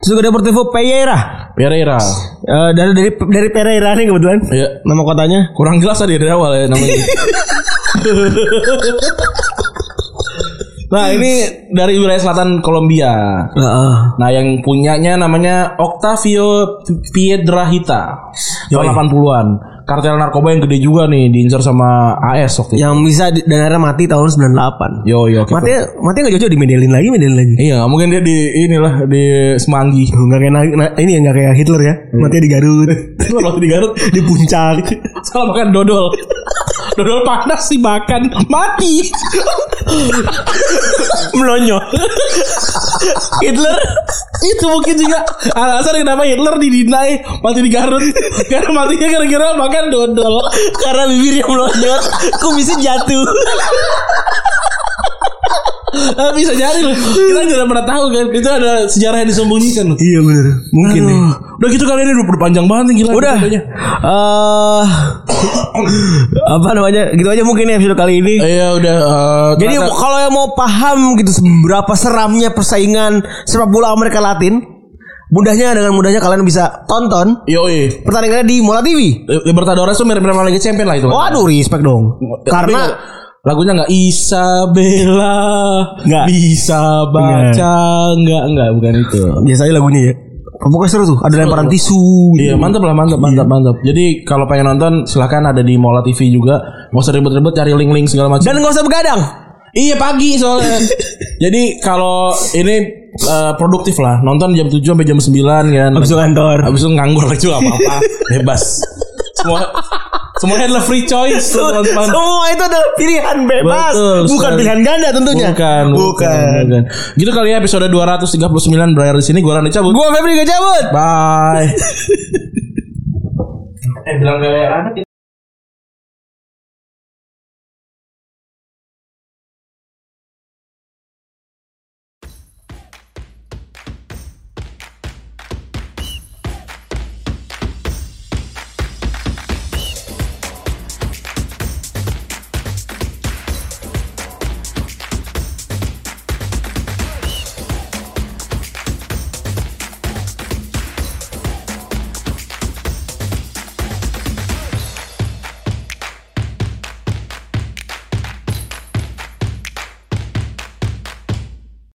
B: Terus juga Deportivo Pereira
C: Pereira
B: Eh, Dari dari dari Pereira nih kebetulan
C: Iya.
B: Nama kotanya
C: kurang jelas tadi dari awal ya namanya nah ini dari wilayah selatan Kolombia
B: Heeh.
C: nah yang punyanya namanya Octavio Piedrahita tahun 80-an kartel narkoba yang gede juga nih diincar sama AS waktu itu
B: Yang bisa di- dan akhirnya mati tahun 98
C: yo yo kita-
B: Matinya, matinya gak cocok di Medellin lagi Medellin lagi
C: Iya, nggak mungkin dia di inilah di Semanggi.
B: Gak kayak na- na- ini ya gak kayak Hitler ya Matinya di Garut
C: Kalau di Garut
B: Di puncak
C: salah makan dodol. Dodol panas dimakan mati.
B: Melonyo
C: Hitler itu mungkin juga alasan kenapa Hitler didinai mati di Garut karena matinya gara-gara makan dodol.
B: Karena bibirnya melonjot Kumisnya jatuh
C: Eh, bisa nyari loh. Kita tidak pernah tahu kan. Itu ada sejarah yang disembunyikan loh.
B: Iya bener Mungkin
C: Aduh.
B: ya
C: Udah gitu kali ini udah udah panjang banget nih gila.
B: Udah.
C: ceritanya.
B: eh apa namanya? Gitu aja mungkin ya episode kali ini.
C: Iya udah. eh,
B: Jadi
C: ternyata-
B: kalau yang mau paham gitu seberapa seramnya persaingan sepak bola Amerika Latin, mudahnya dengan mudahnya kalian bisa tonton
C: Yoi.
B: pertandingannya di Mola TV.
C: Libertadores tuh mirip-mirip sama Liga Champion lah itu. kan.
B: Waduh, respect dong. Karena
C: Tapi lagunya nggak Isabella
B: Nggak.
C: bisa baca nggak nggak bukan itu
B: biasanya lagunya ya. Pokoknya seru tuh, ada lemparan tisu. gitu.
C: Iya mantap lah mantap mantap mantap. Jadi kalau pengen nonton silahkan ada di Mola TV juga. Gak usah ribet-ribet cari link-link segala macam.
B: Dan gak usah begadang.
C: iya pagi soalnya. Jadi kalau ini eh, produktif lah nonton jam 7 sampai jam 9 kan.
B: Habis itu kantor.
C: Habis itu nganggur lagi juga apa-apa bebas. Semua semuanya adalah free choice tuh, teman-teman.
B: Semua itu adalah pilihan bebas,
C: Betul
B: bukan
C: sekali.
B: pilihan ganda tentunya.
C: Bukan,
B: bukan.
C: bukan. Gitu kali ya episode 239 berakhir di sini. Gua Randy cabut.
B: Gua Febri gak cabut.
C: Bye. eh bilang kayak anak ya.